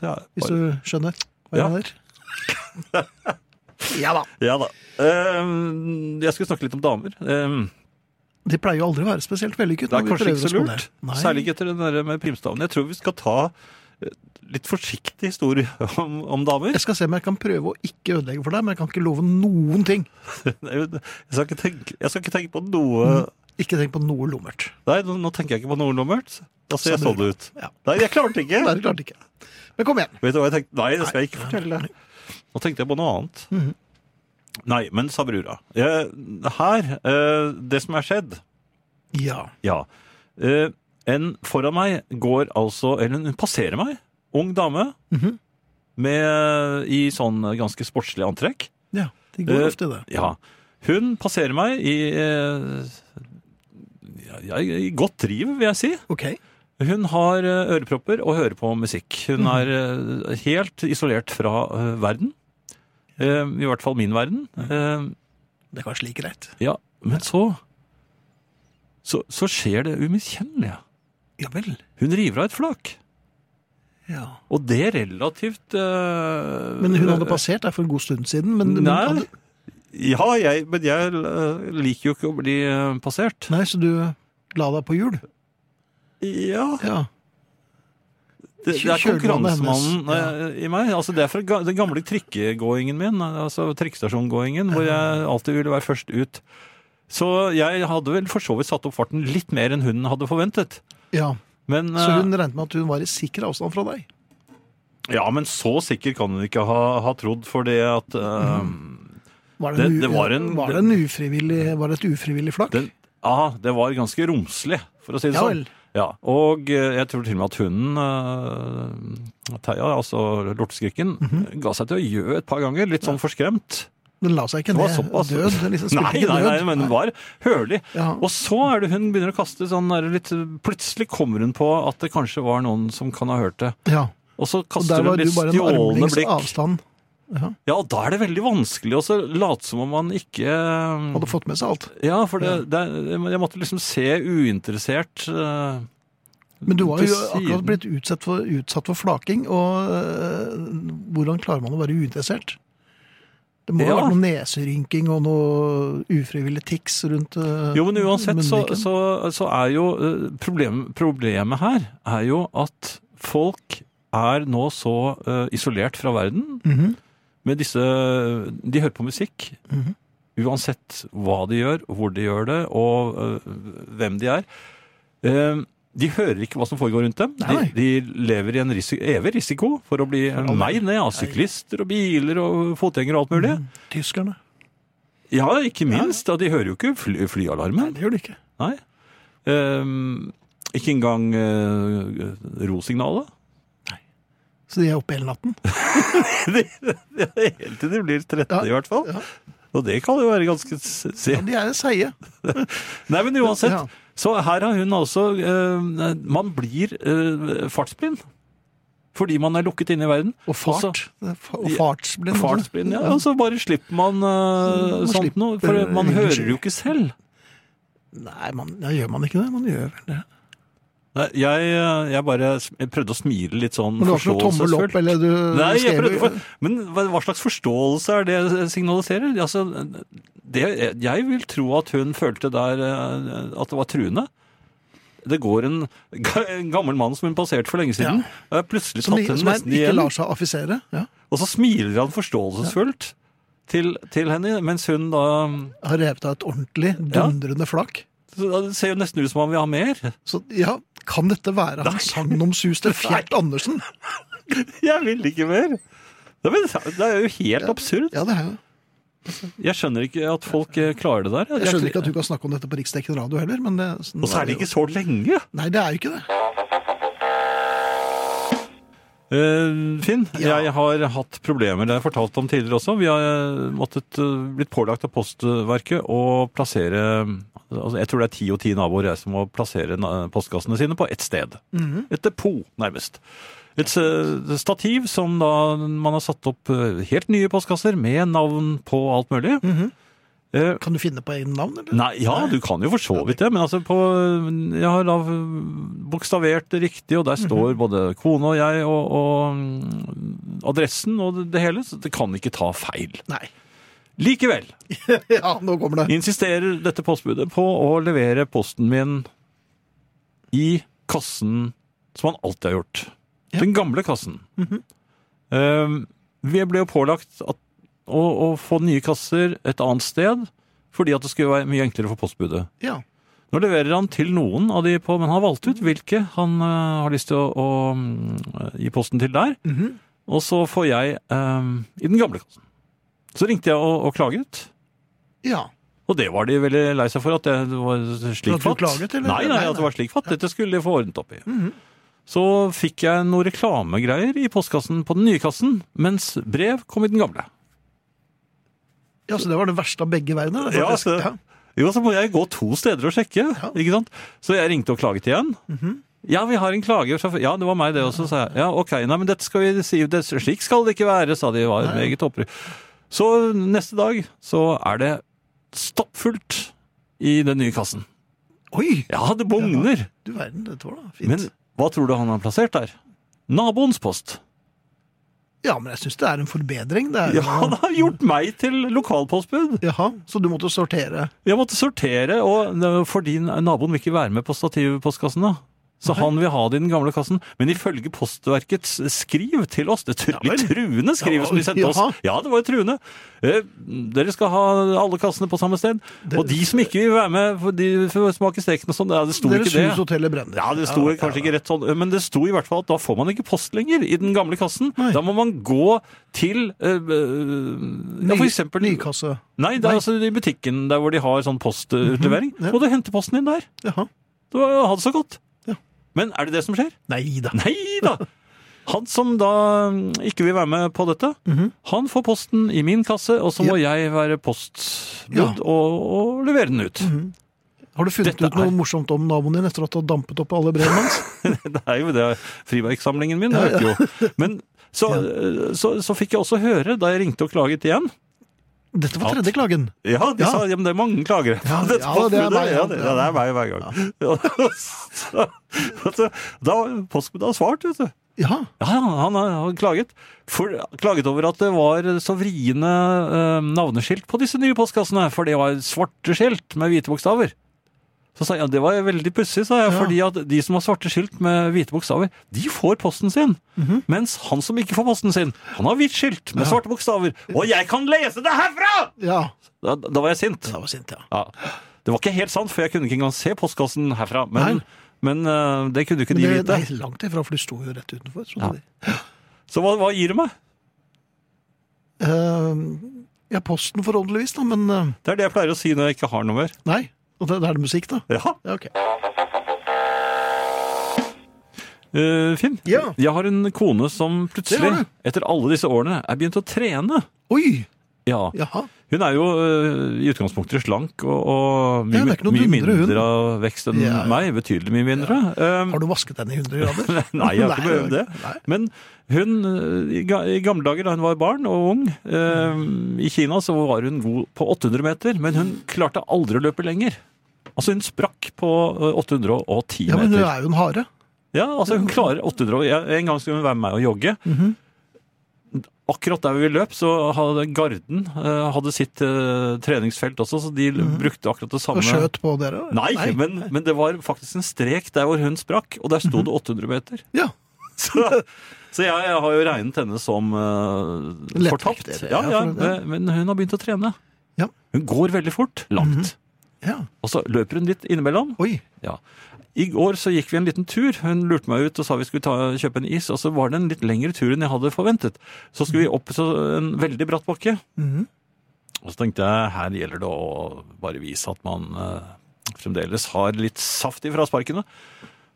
[SPEAKER 2] Det er
[SPEAKER 1] Hvis
[SPEAKER 2] bare-
[SPEAKER 1] du skjønner hva jeg
[SPEAKER 2] Ja.
[SPEAKER 1] mener. Ja da.
[SPEAKER 2] Ja da. Ehm, jeg skulle snakke litt om damer. Ehm,
[SPEAKER 1] De pleier jo aldri å være spesielt vellykket.
[SPEAKER 2] det er
[SPEAKER 1] når vi
[SPEAKER 2] kanskje
[SPEAKER 1] prøver
[SPEAKER 2] ikke så
[SPEAKER 1] oss på det.
[SPEAKER 2] lurt. Særlig ikke etter den der med primstaven. Jeg tror vi skal ta eh, litt forsiktig historie om, om damer.
[SPEAKER 1] Jeg skal se om jeg kan prøve å ikke ødelegge for deg, men jeg kan ikke love noen ting.
[SPEAKER 2] Jeg skal ikke tenke, jeg skal ikke tenke på noe
[SPEAKER 1] Mm. Ikke tenk på noe lummert.
[SPEAKER 2] Nei, nå, nå tenker jeg ikke på noe nummert. Da ser jeg
[SPEAKER 1] Sa
[SPEAKER 2] sånn
[SPEAKER 1] du.
[SPEAKER 2] ut.
[SPEAKER 1] Ja.
[SPEAKER 2] Nei, jeg klarte ikke.
[SPEAKER 1] Nei, det klarte ikke. Men kom igjen.
[SPEAKER 2] Vet du hva jeg tenkte? Nei, det skal jeg ikke fortelle.
[SPEAKER 1] Fortell.
[SPEAKER 2] Nå tenkte jeg på noe annet.
[SPEAKER 1] Mm.
[SPEAKER 2] Nei, men Sabrura. Eh, her, eh, det som er skjedd
[SPEAKER 1] Ja.
[SPEAKER 2] Ja. Eh, en foran meg går altså Eller hun passerer meg. Ung dame.
[SPEAKER 1] Mhm.
[SPEAKER 2] med, I sånn ganske sportslig antrekk.
[SPEAKER 1] ja. De går
[SPEAKER 2] Eh,
[SPEAKER 1] ofte i det.
[SPEAKER 2] Ja. Hun passerer meg i eh, ja, I godt driv, vil jeg si.
[SPEAKER 1] OK.
[SPEAKER 2] Hun har eh, ørepropper og hører på musikk. Hun er eh, helt isolert fra eh, verden. Eh, I hvert fall min verden. Eh,
[SPEAKER 1] Det er kanskje like greit.
[SPEAKER 2] ja, men så Så, så skjer det umiskjennelige.
[SPEAKER 1] Ja vel.
[SPEAKER 2] Hun river av et flak.
[SPEAKER 1] Ja.
[SPEAKER 2] Og det relativt eh,
[SPEAKER 1] Men hun hadde passert der for en god stund siden. Men, men
[SPEAKER 2] Nei.
[SPEAKER 1] hadde,
[SPEAKER 2] Ja, jeg, men jeg eh, liker jo ikke å bli eh, passert.
[SPEAKER 1] nei, så du la deg på hjul?
[SPEAKER 2] Ja,
[SPEAKER 1] Ja.
[SPEAKER 2] Det, det er
[SPEAKER 1] Kjører man med
[SPEAKER 2] konkurransemannen
[SPEAKER 1] hennes,
[SPEAKER 2] eh, i meg. Altså, det er fra ga- den gamle trikkegåingen min, altså trikkestasjongåingen, hvor jeg alltid ville være først ut. Så jeg hadde vel for så vidt satt opp farten litt mer enn hun hadde forventet.
[SPEAKER 1] ja.
[SPEAKER 2] Men,
[SPEAKER 1] Så
[SPEAKER 2] eh,
[SPEAKER 1] hun regnet med at hun var i sikker avstand fra deg?
[SPEAKER 2] ja, men så sikker kan hun ikke ha, ha trodd, for det at eh,
[SPEAKER 1] Mm. Var det, en
[SPEAKER 2] Det- det
[SPEAKER 1] u-
[SPEAKER 2] var en-
[SPEAKER 1] var det, en ufrivillig, var det et ufrivillig flak?
[SPEAKER 2] Den, ja, Ah, det var ganske romslig, for å si det
[SPEAKER 1] Ja
[SPEAKER 2] sånn.
[SPEAKER 1] vel.
[SPEAKER 2] Ja, og eh, jeg tror til og med at hunden, eh, Theia, altså lorteskrikken,
[SPEAKER 1] Mhm.
[SPEAKER 2] ga seg til å gjø et par ganger, litt sånn forskremt.
[SPEAKER 1] Den la seg ikke
[SPEAKER 2] Det
[SPEAKER 1] ned
[SPEAKER 2] var såpass.
[SPEAKER 1] død? Den liksom spilte
[SPEAKER 2] nei,
[SPEAKER 1] ikke
[SPEAKER 2] nei, nei,
[SPEAKER 1] død.
[SPEAKER 2] men den var hølig.
[SPEAKER 1] Ja.
[SPEAKER 2] Og så er det hun begynner å kaste sånn der litt Plutselig kommer hun på at det kanskje var noen som kan ha hørt det.
[SPEAKER 1] ja.
[SPEAKER 2] Og så
[SPEAKER 1] Og der
[SPEAKER 2] kaster hun
[SPEAKER 1] var du
[SPEAKER 2] litt
[SPEAKER 1] bare en
[SPEAKER 2] stjålne
[SPEAKER 1] armlengdes
[SPEAKER 2] blikk.
[SPEAKER 1] avstand.
[SPEAKER 2] Ja, og da er det veldig vanskelig å så late som om man ikke eh, Mm.
[SPEAKER 1] Hadde fått med seg alt.
[SPEAKER 2] Ja, for det, det, jeg måtte liksom se uinteressert eh,
[SPEAKER 1] Men du var
[SPEAKER 2] til
[SPEAKER 1] jo
[SPEAKER 2] siden.
[SPEAKER 1] akkurat blitt utsatt for, utsatt for flaking, og øh, hvordan klarer man å være uinteressert? Det må
[SPEAKER 2] Ja.
[SPEAKER 1] ha vært noe neserynking og noe ufrivillig tics rundt øh,
[SPEAKER 2] Jo, men uansett så,
[SPEAKER 1] munnviken.
[SPEAKER 2] så, så er jo eh, problem, problemet her er jo at folk er nå så eh, isolert fra verden
[SPEAKER 1] Mhm.
[SPEAKER 2] med disse De hører på musikk.
[SPEAKER 1] Mhm.
[SPEAKER 2] Uansett hva de gjør, hvor de gjør det, og eh, hvem de er. Eh, de hører ikke hva som foregår rundt dem.
[SPEAKER 1] Nei, nei.
[SPEAKER 2] De, de lever i en risi evig risiko for å bli meg ned av syklister og biler og fotgjengere og alt mulig.
[SPEAKER 1] Mhm. Tyskerne.
[SPEAKER 2] Ja, ikke minst. Da, de hører jo ikke fly flyalarmen.
[SPEAKER 1] Nei, det gjør de ikke.
[SPEAKER 2] Nei. Ehm, ikke engang eh, rosignalet.
[SPEAKER 1] Så de er oppe hele natten.
[SPEAKER 2] Helt til de blir 13
[SPEAKER 1] Ja,
[SPEAKER 2] i hvert fall.
[SPEAKER 1] ja.
[SPEAKER 2] Og det kan jo være ganske s- se.
[SPEAKER 1] Ja, de er seige.
[SPEAKER 2] Nei, men uansett.
[SPEAKER 1] Ja.
[SPEAKER 2] Så her har hun altså eh, Man blir eh, fartsblind. Fordi man er lukket inne i verden.
[SPEAKER 1] Og fart.
[SPEAKER 2] Også-
[SPEAKER 1] og fartsblind. altså. også.
[SPEAKER 2] Fartsblind, ja. altså. Og så bare slipper man eh,
[SPEAKER 1] Man
[SPEAKER 2] sånt
[SPEAKER 1] slipper
[SPEAKER 2] noe. For man
[SPEAKER 1] vinkelsky.
[SPEAKER 2] hører jo ikke selv.
[SPEAKER 1] Nei, man, ja, gjør man ikke det? Man gjør vel det.
[SPEAKER 2] Nei, Jeg, eh, jeg bare s- jeg prøvde å smile litt sånn
[SPEAKER 1] Men du har ikke noe tommel opp,
[SPEAKER 2] forståelsesfullt.
[SPEAKER 1] eller du
[SPEAKER 2] Nei, jeg
[SPEAKER 1] skrev
[SPEAKER 2] prøvde,
[SPEAKER 1] jo-
[SPEAKER 2] for, men hva hva slags forståelse er det jeg signaliserer? Altså, det, jeg vil tro at hun følte der eh, at det var truende. Det går en, ga- en gammel mann som hun passerte for lenge siden, og har plutselig
[SPEAKER 1] Som,
[SPEAKER 2] tatt
[SPEAKER 1] ikke-
[SPEAKER 2] henne
[SPEAKER 1] som er,
[SPEAKER 2] nesten
[SPEAKER 1] ikke
[SPEAKER 2] igjen.
[SPEAKER 1] lar seg affisere. Ja.
[SPEAKER 2] Og så smiler han forståelsesfullt til, til henne, mens hun da
[SPEAKER 1] Har revet av et ordentlig dundrende flak.
[SPEAKER 2] så da ser jo nesten ut som han vil ha mer.
[SPEAKER 1] Så ja, kan dette være han sagnomsuste Fjert Andersen?
[SPEAKER 2] Jeg vil ikke mer! Nei, men Det er jo helt absurd.
[SPEAKER 1] Ja, det er jo
[SPEAKER 2] Jeg skjønner ikke at folk eh, klarer det der.
[SPEAKER 1] Jeg skjønner ikke at du kan snakke om dette på riksdekkende radio heller, men det
[SPEAKER 2] Og særlig ikke så lenge.
[SPEAKER 1] Nei, det er jo ikke det.
[SPEAKER 2] Eh, Finn,
[SPEAKER 1] Ja.
[SPEAKER 2] jeg har hatt problemer. Det har jeg fortalt om tidligere også. Vi har eh, måttet eh, blitt pålagt av Postverket å plassere altså Jeg tror det er ti og ti naboer jeg, som må plassere na- postkassene sine på ett sted. Et depot, nærmest. Et eh, stativ som da man har satt opp eh, helt nye postkasser med navn på alt mulig. Eh,
[SPEAKER 1] Kan du finne på egne navn, eller?
[SPEAKER 2] Nei, ja, du kan jo for så vidt det, men altså på, jeg har da bokstavert det riktig, og der står både kone og jeg og, og mm, adressen og det hele, så det kan ikke ta feil.
[SPEAKER 1] Nei.
[SPEAKER 2] Likevel
[SPEAKER 1] Ja, nå kommer det.
[SPEAKER 2] insisterer dette postbudet på å levere posten min i kassen som han alltid har gjort.
[SPEAKER 1] Ja.
[SPEAKER 2] Den gamle kassen. Eh, vi ble jo pålagt at, å, å få nye kasser et annet sted, fordi at det skulle være mye enklere for postbudet.
[SPEAKER 1] Ja.
[SPEAKER 2] Nå leverer han til noen av de på, men han har valgt ut hvilke han eh, har lyst til å, å mm, gi posten til der.
[SPEAKER 1] Mhm.
[SPEAKER 2] Og så får jeg eh, i den gamle kassen. Så ringte jeg og, og klaget.
[SPEAKER 1] ja.
[SPEAKER 2] Og det var de veldig lei seg for, at det var slik
[SPEAKER 1] At du
[SPEAKER 2] fatt.
[SPEAKER 1] klaget, eller?
[SPEAKER 2] Nei, nei,
[SPEAKER 1] Nei,
[SPEAKER 2] at det
[SPEAKER 1] nei. Mhm.
[SPEAKER 2] var slik fatt. Dette skulle de få ordnet opp i. Så fikk jeg noen reklamegreier i postkassen på den nye kassen, mens brev kom i den gamle.
[SPEAKER 1] ja, så det var det verste av begge verdener. det,
[SPEAKER 2] Ja,
[SPEAKER 1] faktisk.
[SPEAKER 2] så- Jo, så må jeg gå to steder og sjekke, ikke sant? Så jeg ringte og klaget igjen. Ja, vi har en klager. sjåfør. Ja, det var meg det også, sa jeg. Ja, ok, nei, men dette skal vi si, det, slik skal det ikke være, sa de. Det var meget opprørt. Så neste dag så er det stappfullt i den nye kassen.
[SPEAKER 1] Oi!
[SPEAKER 2] Ja, det bugner.
[SPEAKER 1] Du verden, dette var da fint.
[SPEAKER 2] Men hva tror du han har plassert der? Naboens post.
[SPEAKER 1] ja, men jeg syns det er en forbedring. Det er,
[SPEAKER 2] Ja, han har gjort meg til lokalpostbud.
[SPEAKER 1] Jaha, så du måtte sortere.
[SPEAKER 2] Jeg måtte sortere, og fordi naboen vil ikke være med på stativpostkassen da. Så han vil ha det i den gamle kassen. Men ifølge postverkets skriv til oss, det tru,
[SPEAKER 1] Ja vel.
[SPEAKER 2] litt truende skriv som de sendte
[SPEAKER 1] Jaha.
[SPEAKER 2] oss. Ja, det var jo truende. Eh, dere skal ha alle kassene på samme sted.
[SPEAKER 1] Det-
[SPEAKER 2] Og de som ikke vil være med, for de får smake steken og sånn. Ja, det sto
[SPEAKER 1] Deres
[SPEAKER 2] ikke det.
[SPEAKER 1] hus, hotell brenner.
[SPEAKER 2] Ja, det sto kanskje ikke rett sånn, men det sto i hvert fall at da får man ikke post lenger i den gamle kassen.
[SPEAKER 1] Nei.
[SPEAKER 2] Da må man gå til eh, eh, ja, for eksempel
[SPEAKER 1] Nykasse.
[SPEAKER 2] Nei, det
[SPEAKER 1] Nei. Mhm,
[SPEAKER 2] er altså i butikken der hvor de har sånn postutlevering.
[SPEAKER 1] ja.
[SPEAKER 2] Må du hente posten din der.
[SPEAKER 1] Jaha.
[SPEAKER 2] Du har det så godt.
[SPEAKER 1] Ja.
[SPEAKER 2] Men er det det som skjer?
[SPEAKER 1] Nei da.
[SPEAKER 2] Nei da! Han som da mm, ikke vil være med på dette,
[SPEAKER 1] Mhm.
[SPEAKER 2] han får posten i min kasse, og så må jeg være postbud
[SPEAKER 1] Ja. Mhm.
[SPEAKER 2] og, og levere den ut.
[SPEAKER 1] Har du funnet
[SPEAKER 2] Dette
[SPEAKER 1] ut noe
[SPEAKER 2] er-
[SPEAKER 1] morsomt om naboen din etter at du har dampet opp alle brevene hans?
[SPEAKER 2] Det er jo det friverksamlingen min øker jo. Men så, så, så fikk jeg også høre, da jeg ringte og klaget igjen
[SPEAKER 1] Dette var
[SPEAKER 2] Ja.
[SPEAKER 1] tredje klagen.
[SPEAKER 2] Ja, de
[SPEAKER 1] Ja.
[SPEAKER 2] sa ja, men det er mange klagere.
[SPEAKER 1] Ja,
[SPEAKER 2] Dette
[SPEAKER 1] ja, det er
[SPEAKER 2] postbudet,
[SPEAKER 1] meg, ja.
[SPEAKER 2] Ja, det, ja, det er meg hver gang. Så- så- da postbudet har svart, vet du.
[SPEAKER 1] Ja.
[SPEAKER 2] Ja, han har, han har klaget. For, klaget over at det var så vriene eh, navneskilt på disse nye postkassene, for det var svarte skilt med hvite bokstaver. Så sa jeg, ja, Det var veldig pussig, sa jeg,
[SPEAKER 1] Ja.
[SPEAKER 2] fordi at de som har svarte skilt med hvite bokstaver, de får posten sin.
[SPEAKER 1] Mhm.
[SPEAKER 2] Mens han som ikke får posten sin, han har hvitt skilt med svarte bokstaver. Og jeg kan lese det herfra!
[SPEAKER 1] ja.
[SPEAKER 2] Da, da var jeg sint.
[SPEAKER 1] Det var sint, ja.
[SPEAKER 2] Ja. Det var ikke helt sant, for jeg kunne ikke engang se postkassen herfra. Men,
[SPEAKER 1] Nei.
[SPEAKER 2] men eh, det kunne jo ikke
[SPEAKER 1] Men
[SPEAKER 2] de
[SPEAKER 1] det,
[SPEAKER 2] vite.
[SPEAKER 1] nei, langt ifra, for du sto jo rett utenfor.
[SPEAKER 2] Ja.
[SPEAKER 1] trodde de.
[SPEAKER 2] Så hva, hva gir det meg?
[SPEAKER 1] Eh, ja, posten forhåpentligvis, da, men eh,
[SPEAKER 2] Det er det jeg pleier å si når jeg ikke har noe mer.
[SPEAKER 1] nei. Og da da er det musikk, da.
[SPEAKER 2] Ja.
[SPEAKER 1] Ja, ok.
[SPEAKER 2] Eh, Finn,
[SPEAKER 1] Ja.
[SPEAKER 2] jeg har en kone
[SPEAKER 1] Det
[SPEAKER 2] som
[SPEAKER 1] har
[SPEAKER 2] plutselig,
[SPEAKER 1] du.
[SPEAKER 2] etter alle disse årene, er begynt å trene.
[SPEAKER 1] Oi!
[SPEAKER 2] Ja.
[SPEAKER 1] Jaha.
[SPEAKER 2] Hun er jo eh, i utgangspunktet slank og, og
[SPEAKER 1] Ja,
[SPEAKER 2] mye,
[SPEAKER 1] det er ikke noe
[SPEAKER 2] mye
[SPEAKER 1] dundre,
[SPEAKER 2] mindre
[SPEAKER 1] hun.
[SPEAKER 2] av vekst enn
[SPEAKER 1] Ja, ja.
[SPEAKER 2] meg. Betydelig mye mindre. Eh,
[SPEAKER 1] Har du vasket den i 100 grader?
[SPEAKER 2] Nei, jeg har
[SPEAKER 1] Nei,
[SPEAKER 2] ikke behøvd det.
[SPEAKER 1] nei.
[SPEAKER 2] Men hun, eh, i ga- i gamle dager da hun var barn og ung, eh, i Kina så var hun god på 800 meter, men hun klarte aldri å løpe lenger. Altså hun sprakk på eh, 810
[SPEAKER 1] Ja, men hun
[SPEAKER 2] meter.
[SPEAKER 1] er jo en hare.
[SPEAKER 2] Ja, altså hun klarer 800, og jeg- en gang skulle hun være med meg og jogge.
[SPEAKER 1] Mhm.
[SPEAKER 2] Akkurat der vi løp, så hadde Garden eh, hadde sitt eh, treningsfelt også, så de brukte akkurat det samme.
[SPEAKER 1] Mhm. Og skjøt på dere?
[SPEAKER 2] Nei, Men, men det var faktisk en strek der hvor hun sprakk, og der
[SPEAKER 1] Mhm.
[SPEAKER 2] sto det 800 meter.
[SPEAKER 1] Ja.
[SPEAKER 2] Så, så jeg, jeg har jo regnet henne som eh,
[SPEAKER 1] Lettvekter,
[SPEAKER 2] fortapt.
[SPEAKER 1] ja,
[SPEAKER 2] Ja, ja,
[SPEAKER 1] for- ja.
[SPEAKER 2] men- Men hun har begynt å trene.
[SPEAKER 1] Ja. Mhm.
[SPEAKER 2] Hun går veldig fort, langt.
[SPEAKER 1] ja.
[SPEAKER 2] Og så løper hun litt innimellom.
[SPEAKER 1] Oi.
[SPEAKER 2] Ja. I går så gikk vi en liten tur. Hun lurte meg ut og sa vi skulle ta, kjøpe en is. Og så var det en litt lengre tur enn jeg hadde forventet. Så skulle vi opp så en veldig bratt bakke.
[SPEAKER 1] Mhm.
[SPEAKER 2] Og så tenkte jeg her gjelder det å bare vise at man eh, fremdeles har litt saft i frasparkene.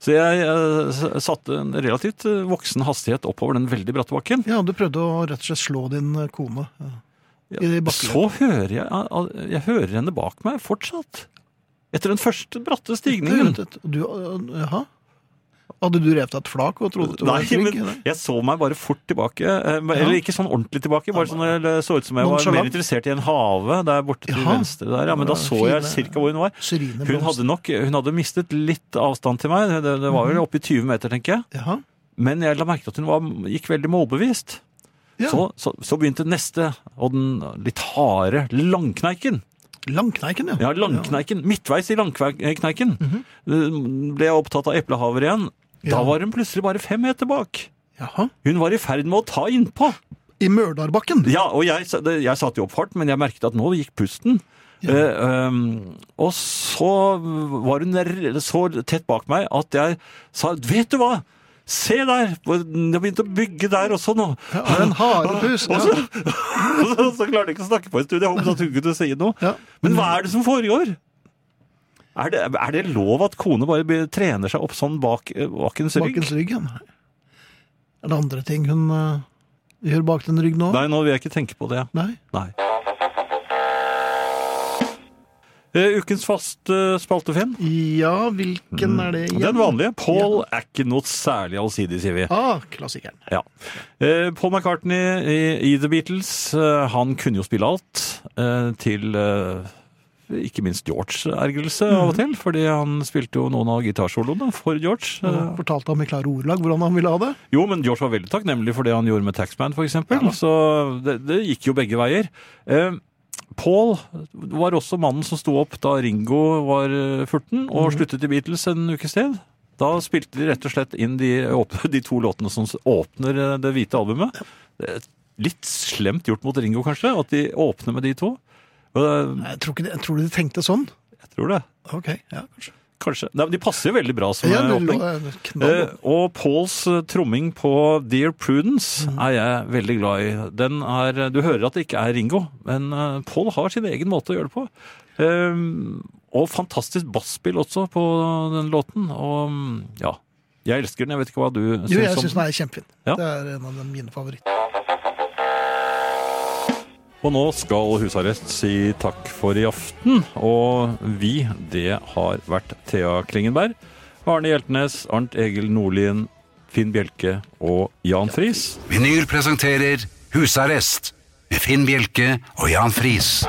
[SPEAKER 2] Så jeg eh, s- satte en relativt eh, voksen hastighet oppover den veldig bratte bakken.
[SPEAKER 1] Ja, du prøvde å rett og slett slå din eh, kone. Ja. I bakkeløp.
[SPEAKER 2] Så hører jeg, jeg hører henne bak meg fortsatt. Etter den første bratte stigningen.
[SPEAKER 1] Du, du, eh, jaha? Hadde du revet deg et flak og trodde du
[SPEAKER 2] Nei,
[SPEAKER 1] var trygg?
[SPEAKER 2] men jeg så meg bare fort tilbake. eh, Eller ikke sånn ordentlig tilbake, bare sånn jeg så ut som jeg var
[SPEAKER 1] Nonchalant.
[SPEAKER 2] mer interessert i en have der borte til
[SPEAKER 1] Jaha.
[SPEAKER 2] venstre der. Ja, men da
[SPEAKER 1] Ja,
[SPEAKER 2] så jeg
[SPEAKER 1] fine.
[SPEAKER 2] cirka hvor hun var.
[SPEAKER 1] Syrine
[SPEAKER 2] Hun
[SPEAKER 1] blomst.
[SPEAKER 2] hadde nok hun hadde mistet litt avstand til meg. Det, det var
[SPEAKER 1] Mhm.
[SPEAKER 2] vel oppi 20 meter, tenker jeg.
[SPEAKER 1] Jaha.
[SPEAKER 2] Men jeg la merke til at hun var, gikk veldig målbevisst.
[SPEAKER 1] Ja.
[SPEAKER 2] Så, så, så begynte neste, og den litt harde langkneiken.
[SPEAKER 1] Langkneiken, ja. Mhm.
[SPEAKER 2] Ja, langkneiken. Midtveis i langkneiken. Eh, Ble jeg opptatt av eplehaver igjen. Da
[SPEAKER 1] Ja.
[SPEAKER 2] var hun plutselig bare fem meter bak.
[SPEAKER 1] Jaha.
[SPEAKER 2] Hun var i ferd med å ta innpå.
[SPEAKER 1] I Mørdarbakken.
[SPEAKER 2] Ja, og jeg, sa- det- jeg satte jo opp fart, men jeg merket at nå gikk pusten. Eh, um, og så var hun r- så tett bak meg at jeg sa Vet du hva? Se der! hvor- Den har begynt å bygge der også nå.
[SPEAKER 1] Er det en harepus?
[SPEAKER 2] Og så, så, så klarte jeg ikke å snakke på en stund. Jeg håpet at hun kunne si noe.
[SPEAKER 1] Ja.
[SPEAKER 2] Men hva er det som foregår? Er det, er det lov at kone bare be- trener seg opp sånn bak eh, bakens rygg?
[SPEAKER 1] Bakens rygg, ja. Nei. Er det andre ting hun eh, gjør bak den ryggen nå?
[SPEAKER 2] Nei, nå vil jeg ikke tenke på det.
[SPEAKER 1] Nei.
[SPEAKER 2] Nei. Eh, ukens faste spalte, Finn.
[SPEAKER 1] Ja,
[SPEAKER 2] Mm.
[SPEAKER 1] hvilken er det igjen?
[SPEAKER 2] Den vanlige. Paul er ikke noe særlig allsidig, sier vi.
[SPEAKER 1] Ah, klassikeren.
[SPEAKER 2] Ja. Eh, Paul McCartney i, i The Beatles, eh, han kunne jo spille alt. Eh, til eh, ikke minst George-ergrelse av og til, fordi han spilte jo noen av gitarsoloene for George. Eh,
[SPEAKER 1] Og Fortalte ham i klare ordelag hvordan han ville ha det.
[SPEAKER 2] Jo, men George var veldig takknemlig for det han gjorde med Taxman, f.eks. eksempel. Så det, det gikk jo begge veier. Eh, Paul var også mannen som sto opp da Ringo var eh, 14 og
[SPEAKER 1] Mhm.
[SPEAKER 2] sluttet i Beatles en ukes tid. Da spilte de rett og slett inn de, åp- de to låtene som s- åpner eh, det hvite albumet. Det er Litt slemt gjort mot Ringo, kanskje, at de åpner med de to. Eh,
[SPEAKER 1] Nei, Jeg tror, ikke det, jeg tror de tenkte sånn.
[SPEAKER 2] Jeg tror det.
[SPEAKER 1] Ok, ja, kanskje.
[SPEAKER 2] Kanskje. Nei, men de passer jo veldig bra som
[SPEAKER 1] Ja,
[SPEAKER 2] eh,
[SPEAKER 1] det
[SPEAKER 2] åpning.
[SPEAKER 1] lå- eh, knall.
[SPEAKER 2] Eh, og Pauls eh, tromming på Dear Prudence
[SPEAKER 1] Mhm.
[SPEAKER 2] er jeg veldig glad i. Den er, eh, du hører at det ikke er Ringo, men eh, Paul har sin egen måte å gjøre det på. Eh, og fantastisk basspill også på den låten. Og mm, ja, jeg elsker den. Jeg vet ikke hva du syns
[SPEAKER 1] Jo, jeg
[SPEAKER 2] om
[SPEAKER 1] syns den er kjempefin.
[SPEAKER 2] sånn Ja.
[SPEAKER 1] Det er en av de mine favoritter.
[SPEAKER 2] Og nå skal husarrest si takk for i aften. Og vi, det har vært Thea Klingenberg, Arne Hjeltnes, Arnt Egil Nordlien, Finn Bjelke og Jan Friis.
[SPEAKER 3] Vinyl presenterer Husarrest med Finn Bjelke og Jan Friis.